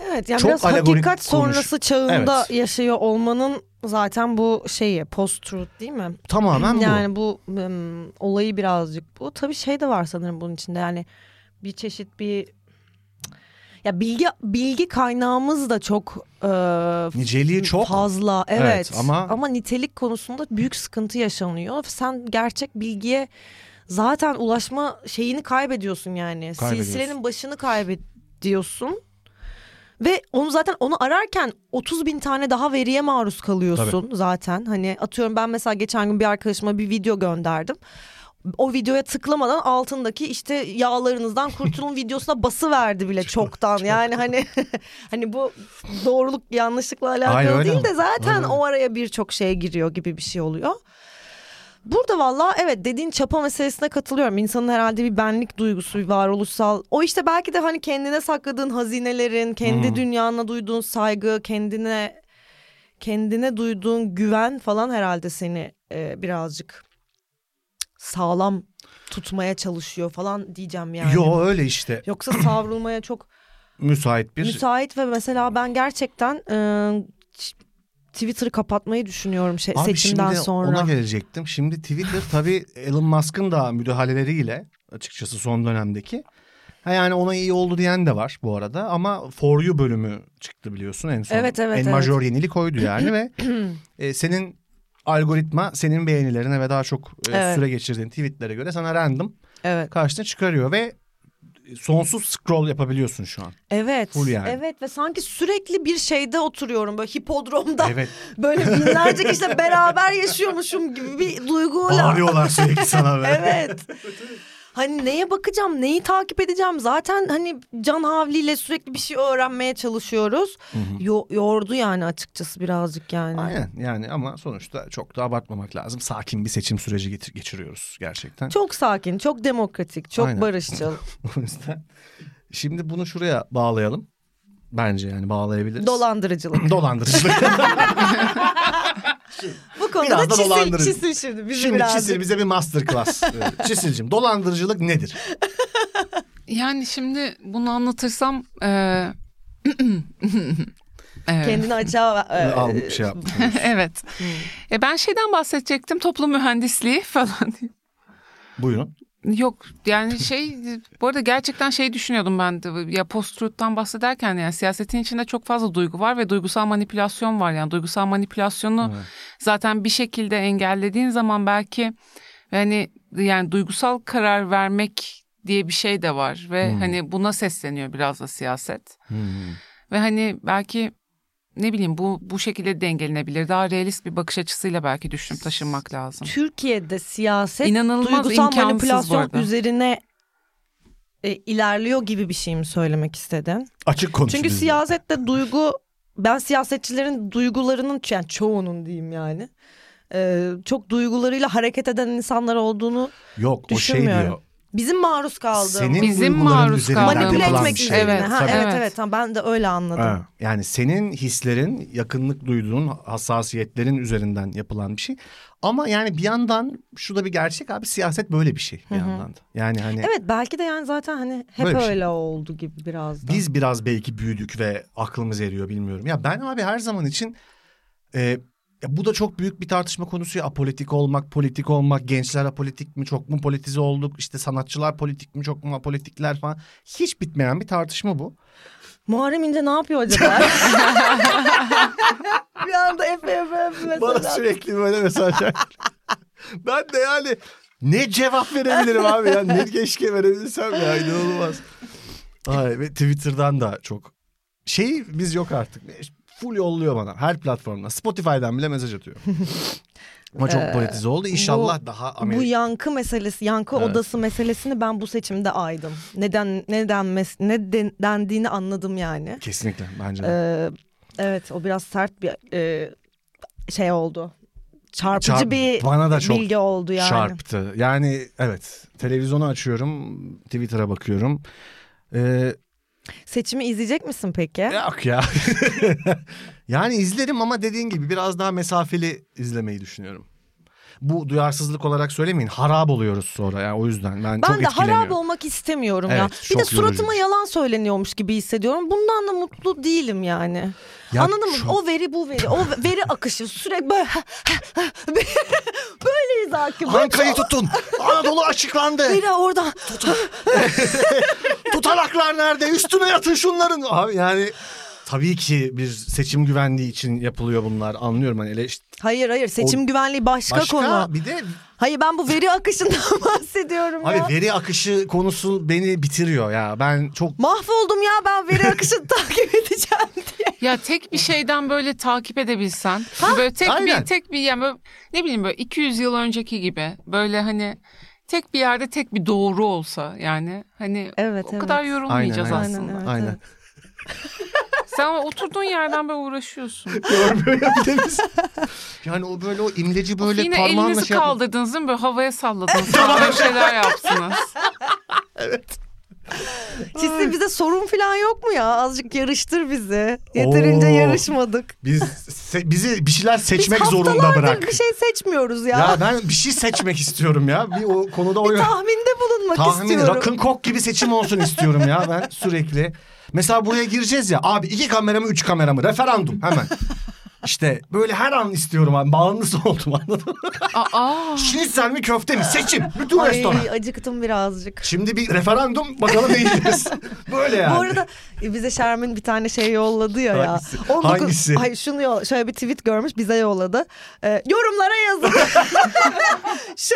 Evet yani
Çok
biraz
alegorik
hakikat
konuş.
sonrası çağında
Evet.
yaşıyor olmanın zaten bu şeyi post-truth değil mi?
Tamamen bu.
yani bu ım, olayı birazcık bu tabii şey de var sanırım bunun içinde yani bir çeşit bir ya bilgi bilgi kaynağımız da çok e,
Niceliği çok.
fazla evet,
Evet, ama-
ama nitelik konusunda büyük sıkıntı yaşanıyor sen gerçek bilgiye zaten ulaşma şeyini kaybediyorsun yani
Kaybediyorsun.
silsilenin başını kaybediyorsun ve onu zaten onu ararken 30 bin tane daha veriye maruz kalıyorsun zaten. Hani atıyorum ben mesela geçen gün bir arkadaşıma bir video gönderdim. O videoya tıklamadan altındaki işte yağlarınızdan kurtulun videosuna bası verdi bile çoktan. Yani hani [laughs] hani bu doğruluk yanlışlıkla alakalı
Hayır, öyle
değil de
ama.
zaten
Öyle.
o araya birçok şeye giriyor gibi bir şey oluyor. Burada valla evet dediğin çapa meselesine katılıyorum. İnsanın herhalde bir benlik duygusu, bir varoluşsal. O işte belki de hani kendine sakladığın hazinelerin, kendi dünyana duyduğun saygı, kendine kendine duyduğun güven falan herhalde seni e, birazcık sağlam tutmaya çalışıyor falan diyeceğim yani.
Yo öyle işte.
Yoksa savrulmaya çok
Müsait [clears throat] bir
müsait ve mesela ben gerçekten e, ç- Twitter'ı kapatmayı düşünüyorum şey,
Abi
seçimden
şimdi
sonra.
ona gelecektim. Şimdi Twitter tabii Elon Musk'ın da müdahaleleriyle açıkçası son dönemdeki. Ha yani ona iyi oldu diyen de var bu arada ama For You bölümü çıktı biliyorsun en son.
Evet, evet,
En
evet.
majör yenilik oydu yani
[clears throat]
ve e, senin algoritma senin beğenilerine ve daha çok e,
Evet.
süre geçirdiğin tweetlere göre sana random
Evet.
karşına çıkarıyor ve sonsuz scroll yapabiliyorsun şu an.
Evet.
Full yani.
Evet ve sanki sürekli bir şeyde oturuyorum böyle hipodromda.
Evet.
Böyle
[laughs]
binlerce kişiyle beraber yaşıyormuşum gibi bir duyguyla.
Bağırıyorlar sürekli sana böyle. [laughs]
Evet. Hani neye bakacağım, neyi takip edeceğim? Zaten hani Can Havli ile sürekli bir şey öğrenmeye çalışıyoruz. Yo- yordu yani açıkçası birazcık yani.
Aynen yani ama sonuçta çok da abartmamak lazım. Sakin bir seçim süreci getir- geçiriyoruz gerçekten.
Çok sakin, çok demokratik, çok
Aynen. [laughs]
barışçıl.
O yüzden şimdi bunu şuraya bağlayalım. Bence yani bağlayabiliriz.
Dolandırıcılık. [laughs]
Dolandırıcılık.
Bu konuda
Biraz da
da çisil,
dolandırıcı.
çisil şimdi bizi
şimdi
birazcık.
Çisil bize bir
[laughs]
masterclass. Evet. Çisil'cim dolandırıcılık nedir?
Yani şimdi bunu anlatırsam... E... [laughs] Evet.
Kendini açığa... e,
Al şey yap.
[laughs] evet.
Hmm.
E ben şeyden bahsedecektim toplum mühendisliği falan diye.
Buyurun.
Yok yani şey bu arada gerçekten şey düşünüyordum ben de ya post-truth'tan bahsederken yani siyasetin içinde çok fazla duygu var ve duygusal manipülasyon var yani duygusal manipülasyonu zaten bir şekilde engellediğin zaman belki yani yani duygusal karar vermek diye bir şey de var ve
Hmm.
hani buna sesleniyor biraz da siyaset.
Hmm.
Ve hani belki ne bileyim bu bu şekilde dengelenebilir. Daha realist bir bakış açısıyla belki düşünüp taşınmak lazım.
Türkiye'de siyaset
İnanılmaz
duygusal
imkansız bu
manipülasyon
arada.
üzerine e, ilerliyor gibi bir şey mi söylemek istedin?
Açık konuş.
Çünkü
bizde.
siyasette duygu ben siyasetçilerin duygularının yani çoğunun diyeyim yani e, çok duygularıyla hareket eden insanlar olduğunu
Yok o şey
Düşünmüyorum.
diyor.
bizim maruz kaldığımız
Senin
Bizim
duyguların
maruz
üzerinden
kaldığımız-
manipüle
yapılan
etmek
bir şey.
üzerine.
Evet,
ha,
tabii.
evet
Evet.
evet, Ha, ben de öyle anladım.
Ha, yani senin hislerin, yakınlık duyduğun hassasiyetlerin üzerinden yapılan bir şey. Ama yani bir yandan şu da bir gerçek abi siyaset böyle bir şey bir yandan da. Yani hani
Evet belki de yani zaten hani hep
Böyle bir şey.
öyle oldu gibi biraz da.
biz biraz belki büyüdük ve aklımız eriyor bilmiyorum. Ya ben abi her zaman için e, ya bu da çok büyük bir tartışma konusu ya apolitik olmak, politik olmak, gençler apolitik mi, çok mu politize olduk, işte sanatçılar politik mi, çok mu apolitikler falan. Hiç bitmeyen bir tartışma bu.
Muharrem İnce ne
[laughs]
yapıyor acaba? bir anda efe efe efe mesela.
Bana sürekli böyle mesajlar. [laughs] ben de yani ne cevap verebilirim abi ya. Ne keşke verebilsem ya inanılmaz. Ay ve Twitter'dan da çok şey biz yok artık. Full yolluyor bana her platformdan. Spotify'dan bile mesaj
[laughs]
atıyor. Ama çok politize oldu. İnşallah daha
Ee, Bu
Amerika.
yankı meselesi, yankı
Evet.
odası meselesini ben bu seçimde aydım. Neden neden mes- ne den- dendiğini anladım yani.
Kesinlikle bence de.
Ee, evet o biraz sert bir e, şey oldu. Çarpıcı
Çarp-
bir
bana da çok
bilgi oldu yani.
Çarptı. Yani evet televizyonu açıyorum Twitter'a bakıyorum. Ee,
Seçimi izleyecek misin peki?
Yok ya. [laughs] yani izlerim ama dediğin gibi biraz daha mesafeli izlemeyi düşünüyorum. Bu duyarsızlık olarak söylemeyin. Harap oluyoruz sonra. Yani o yüzden ben, çok
Ben de harap
etkileniyorum.
olmak istemiyorum ya.
Evet,
Bir de
çok yorucu. şey.
suratıma yalan söyleniyormuş gibi hissediyorum. Bundan da mutlu değilim yani.
Ya
Anladın mı?
çok-
O veri bu veri. O veri akışı sürekli böyle [laughs]
[laughs]
böyleyiz hakim.
Anka'yı tutun. Anadolu açıklandı.
Veri oradan.
Tutanaklar nerede? Üstüme yatın şunların. Abi yani tabii ki bir seçim güvenliği için yapılıyor bunlar. Anlıyorum hani eleş-
Hayır hayır seçim
O-
güvenliği başka,
Başka
konu.
bir de
Hayır ben bu veri akışından [laughs] bahsediyorum ya.
abi veri akışı konusu beni bitiriyor ya. Ben çok
Mahvoldum ya ben veri akışını [laughs] takip edeceğim diye.
Ya tek bir şeyden böyle takip edebilsen. böyle tek
aynen.
bir tek bir yani böyle, ne bileyim böyle 200 yıl önceki gibi böyle hani tek bir yerde tek bir doğru olsa yani hani
Evet,
o
evet.
kadar yorulmayacağız
Aynen,
aslında.
evet,
aynen.
evet.
Sen ama oturduğun yerden böyle uğraşıyorsun.
Böyle bir de
[laughs]
biz- yani o böyle o imleci böyle
Yine
parmağınla
elinizi
şey yapıyor.
kaldırdınız değil mi? Böyle havaya salladınız.
[laughs]
Böyle şeyler yapsınız.
Sizin bize sorun falan yok mu ya? Azıcık yarıştır bizi. Yeterince
Oo.
yarışmadık.
Biz se- bizi bir şeyler seçmek
Biz
zorunda
haftalardır
bırak.
bir şey seçmiyoruz ya.
Ya ben bir şey seçmek istiyorum ya. Bir o konuda o
Tahminde bulunmak
tahmin
istiyorum.
rock'ın kok gibi seçim olsun istiyorum ya ben sürekli. Mesela buraya gireceğiz ya abi iki kamera mı üç kamera mı referandum hemen. İşte böyle her an istiyorum abi. Bağımlısı [laughs] oldum anladın mı?
Aa,
Şinitsel mi köfte mi seçim. Bütün
Ah. Ay,
restoran.
acıktım birazcık.
Şimdi bir referandum bakalım ne
[laughs]
yiyeceğiz. Böyle yani.
Bu arada e, bize Şermin bir tane şey yolladı ya ya.
Hangisi? Hangisi?
Ay şunu yolla- şöyle bir tweet görmüş bize yolladı. E, yorumlara yazın. [laughs] Şu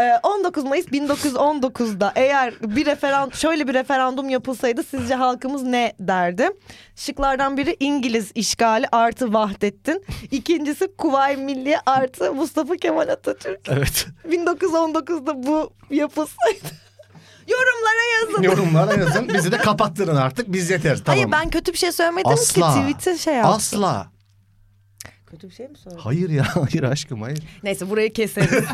e, 19 Mayıs 1919'da eğer bir referan şöyle bir referandum yapılsaydı sizce halkımız ne derdi? Şıklardan biri İngiliz işgali artı Vahdettin. İkincisi Kuvayi Milliye artı Mustafa Kemal Atatürk.
Evet.
1919'da bu yapılsaydı. [laughs] Yorumlara yazın.
Yorumlara yazın. Bizi de kapattırın artık. Biz yeteriz. Tamam.
Hayır ben kötü bir şey söylemedim
Asla.
ki tweet'i şey yaptım.
Asla.
Kötü bir şey mi söyledim?
Hayır ya. Hayır aşkım hayır. [laughs]
Neyse burayı keseriz.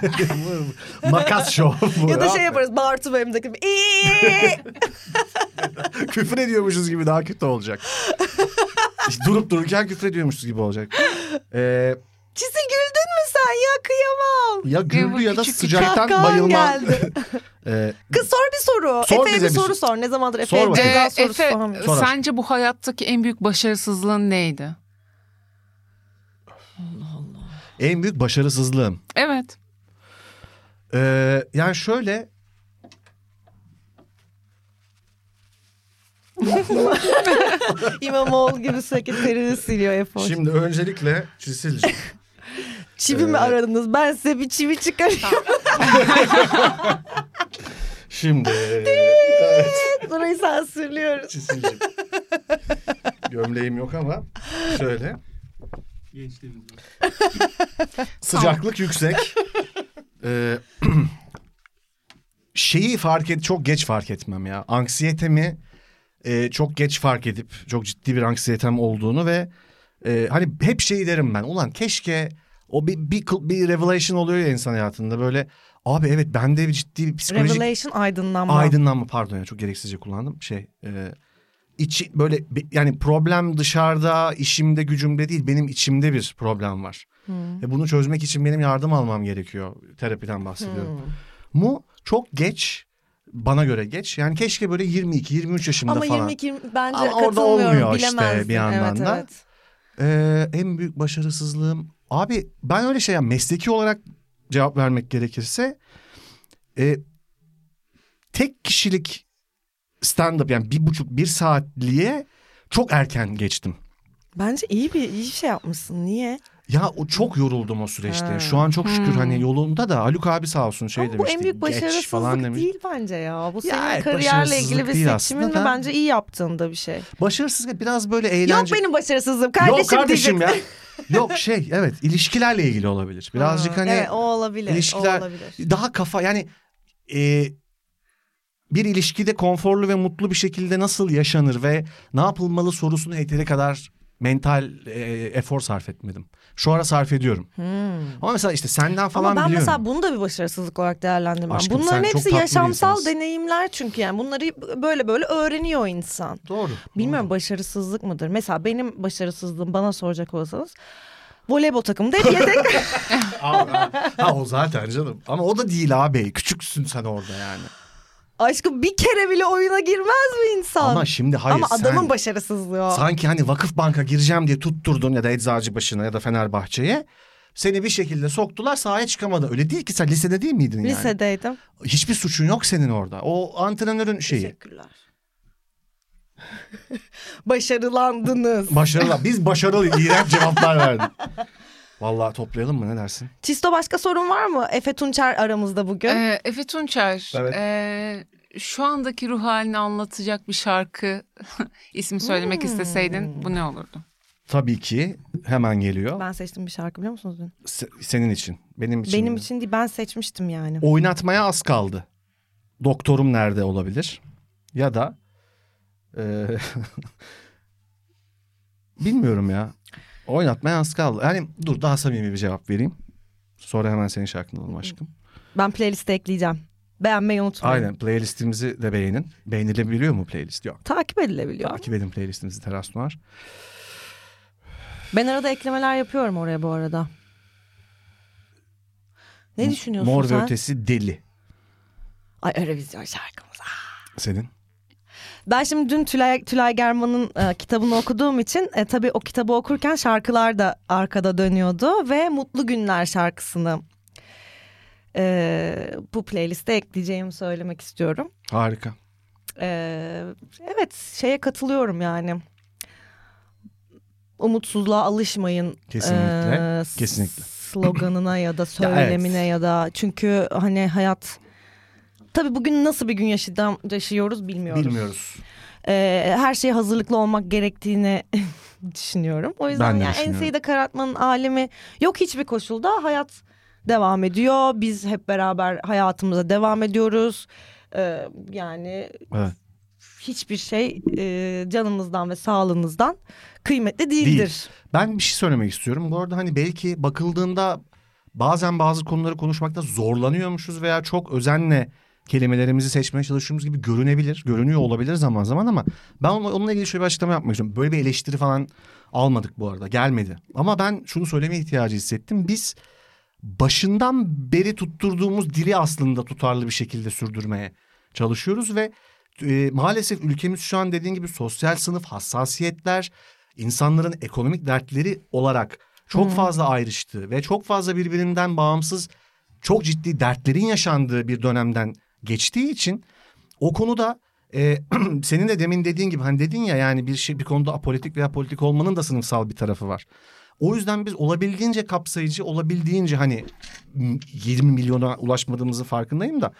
Makas şov bu
ya da
ya.
şey yaparız Bartu benimdeki gibi. [laughs] "İyi."
Küfür ediyormuşuz gibi daha kötü olacak. İşte durup dururken küfür ediyormuşuz gibi olacak. Ee,
Çisil güldün mü sen ya kıyamam.
ya güldü
bu
ya da
küçük
sıcaktan
kahkahan
bayılma.
geldi.
[laughs] Ee,
Kız sor bir soru.
Sor
Efe'ye
bize
bir
bir şey.
soru sor. Ne zamandır
Sor
Efe'ye
bakayım.
ceza
Ee,
sorusu
Efe
soramıyoruz.
Sor aşkım.
sence bu hayattaki en büyük başarısızlığın neydi?
en büyük başarısızlığım.
Evet.
Ee, yani şöyle...
[laughs] İmamoğlu gibi sürekli terini siliyor Efe. Şimdi,
Şimdi
[laughs]
öncelikle Çisil'cim.
çivi mi
Evet.
aradınız? Ben size bir çivi çıkarayım.
Şimdi. evet.
[laughs] Burayı sansürlüyoruz.
Çizildi. Gömleğim yok ama şöyle.
Gençliğimiz var.
Sıcaklık yüksek. Ee, [clears throat] şeyi fark et çok geç fark etmem ya. Anksiyetemi e, çok geç fark edip çok ciddi bir anksiyetem olduğunu ve e, hani hep şey derim ben. Ulan keşke o bir, bir, kıl- bir revelation oluyor ya insan hayatında böyle. Abi evet bende bir ciddi bir psikolojik
Revelation aydınlanma.
aydınlanma pardon ya çok gereksizce kullandım. Şey e, içi böyle bi- yani problem dışarıda işimde gücümde değil benim içimde bir problem var.
Hmm.
Ve bunu çözmek için benim yardım almam gerekiyor. Terapiden bahsediyorum.
Hmm.
Mu çok geç bana göre geç. Yani keşke böyle 22 23 yaşımda
Ama
falan.
22 bence
Ama orada
katılmıyorum.
olmuyor işte
Bilemezdim.
bir yandan
evet,
da.
Evet.
Ee, en büyük başarısızlığım abi ben öyle şey ya mesleki olarak cevap vermek gerekirse e, tek kişilik stand up yani bir buçuk bir saatliğe çok erken geçtim.
Bence iyi bir iyi bir şey yapmışsın. Niye?
Ya o çok yoruldum o süreçte.
Ha.
Şu an çok şükür
Hmm.
hani yolunda da Haluk abi sağ olsun şey
Ama bu
demişti.
en büyük
"Geç" falan
başarısızlık
demiş.
değil bence ya. Bu
Ya
senin
evet,
kariyerle
başarısızlık
ilgili bir
değil
seçimin ve
aslında da.
bence iyi yaptığın da bir şey.
Başarısızlık biraz böyle eğlence.
Yok benim başarısızlığım kardeşim,
Yok kardeşim ya.
[laughs] diyecektin.
Yok şey evet ilişkilerle ilgili olabilir. Birazcık
Ha,
hani
evet, o olabilir.
ilişkiler-
o olabilir.
daha kafa yani e, bir ilişkide konforlu ve mutlu bir şekilde nasıl yaşanır ve ne yapılmalı sorusunu yeteri kadar mental e, efor sarf etmedim. Şu ara sarf ediyorum.
Hmm.
Ama mesela işte senden falan
Ama ben
biliyorum.
mesela bunu da bir başarısızlık olarak değerlendirmem.
Aşkım, sen
Bunların
çok
hepsi
tatlı bir
yaşamsal
insansın.
deneyimler çünkü yani bunları böyle böyle öğreniyor insan. [laughs]
Doğru.
Bilmiyorum başarısızlık mıdır? Mesela benim başarısızlığım bana soracak olsanız voleybol takımında hep
[laughs]
yedek. [laughs]
Aa, aa. ha o zaten canım. Ama o da değil abi. Küçüksün sen orada yani.
Aşkım bir kere bile oyuna girmez mi insan?
Ama şimdi hayır
Ama adamın
sen...
başarısızlığı o.
Sanki hani vakıf banka gireceğim diye tutturdun ya da Eczacıbaşı'na ya da Fenerbahçe'ye. Seni bir şekilde soktular sahaya çıkamadı. Öyle değil ki sen lisede değil miydin yani?
Lisedeydim.
Hiçbir suçun yok senin orada. O antrenörün şeyi.
Teşekkürler. [laughs] Başarılandınız.
Başarılı. Biz başarılı iğrenç cevaplar verdik. Vallahi toplayalım mı ne dersin?
Çisto başka sorun var mı? Efe Tunçer aramızda bugün.
Ee, Efe Tunçer.
Evet.
ee, şu andaki ruh halini anlatacak bir şarkı [laughs] ismi söylemek
Hmm.
isteseydin bu ne olurdu?
Tabii ki hemen geliyor.
Ben seçtim bir şarkı biliyor musunuz? dün?
Se- senin için. Benim için.
Benim için değil ben seçmiştim yani.
Oynatmaya az kaldı. Doktorum nerede olabilir? Ya da e, [laughs] bilmiyorum ya. Oynatmaya az kaldı. Yani dur daha samimi bir cevap vereyim. Sonra hemen senin şarkını alalım aşkım.
Ben playliste ekleyeceğim. Beğenmeyi unutmayın.
Aynen playlistimizi de beğenin. Beğenilebiliyor mu playlist? Yok.
Takip edilebiliyor.
Takip edin playlistimizi Teras Noir.
Ben arada eklemeler yapıyorum oraya bu arada. Ne düşünüyorsun
Mor
sen?
ve Ötesi Deli.
Ay Eurovision şarkımız. Ah.
Senin.
Ben şimdi dün Tülay, Tülay German'ın e, kitabını okuduğum için e, tabii o kitabı okurken şarkılar da arkada dönüyordu ve Mutlu Günler şarkısını e, bu playliste ekleyeceğimi söylemek istiyorum.
Harika.
Ee, evet şeye katılıyorum yani. Umutsuzluğa alışmayın.
Kesinlikle,
ee, s-
kesinlikle.
Sloganına ya da söylemine ya, da çünkü hani hayat Tabii bugün nasıl bir gün yaşadam- yaşıyoruz bilmiyoruz.
Bilmiyoruz.
Ee, her şeye hazırlıklı olmak gerektiğini [laughs] düşünüyorum. O yüzden
Ben de
yani
düşünüyorum.
enseyi de karartmanın alemi yok hiçbir koşulda. Hayat devam ediyor. Biz hep beraber hayatımıza devam ediyoruz. Ee, yani
Evet.
hiçbir şey e, canımızdan ve sağlığımızdan kıymetli değildir.
Ben bir şey söylemek istiyorum. Bu arada hani belki bakıldığında bazen bazı konuları konuşmakta zorlanıyormuşuz veya çok özenle kelimelerimizi seçmeye çalıştığımız gibi görünebilir. Görünüyor olabilir zaman zaman ama ben onunla, onunla ilgili şöyle bir açıklama yapmak istiyorum. Böyle bir eleştiri falan almadık bu arada. Gelmedi. Ama ben şunu söylemeye ihtiyacı hissettim. Biz başından beri tutturduğumuz dili aslında tutarlı bir şekilde sürdürmeye çalışıyoruz ve e, maalesef ülkemiz şu an dediğin gibi sosyal sınıf hassasiyetler, insanların ekonomik dertleri olarak çok fazla ayrıştığı ve çok fazla birbirinden bağımsız çok ciddi dertlerin yaşandığı bir dönemden geçtiği için o konuda e, [clears throat] senin de demin dediğin gibi hani dedin ya yani bir şey bir konuda apolitik veya politik olmanın da sınıfsal bir tarafı var. O yüzden biz olabildiğince kapsayıcı, olabildiğince hani 20 milyona ulaşmadığımızın farkındayım da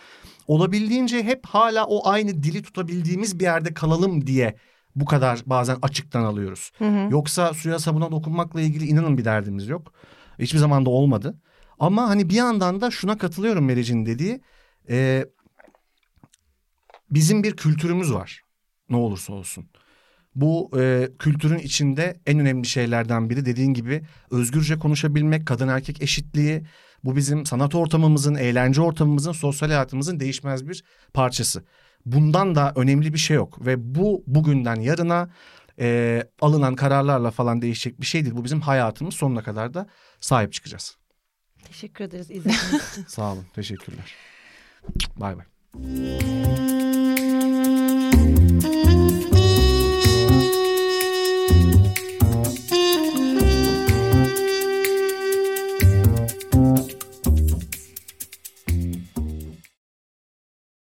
olabildiğince hep hala o aynı dili tutabildiğimiz bir yerde kalalım diye bu kadar bazen açıktan alıyoruz. Yoksa suya sabuna dokunmakla ilgili inanın bir derdimiz yok. Hiçbir zaman da olmadı. Ama hani bir yandan da şuna katılıyorum Meric'in dediği. e, bizim bir kültürümüz var. Ne olursa olsun. Bu e, kültürün içinde en önemli şeylerden biri dediğin gibi özgürce konuşabilmek, kadın erkek eşitliği. Bu bizim sanat ortamımızın, eğlence ortamımızın, sosyal hayatımızın değişmez bir parçası. Bundan da önemli bir şey yok ve bu bugünden yarına e, alınan kararlarla falan değişecek bir şey değil. Bu bizim hayatımız sonuna kadar da sahip çıkacağız.
Teşekkür ederiz izlediğiniz için.
Sağ olun, teşekkürler. Bay bay.
Thank you.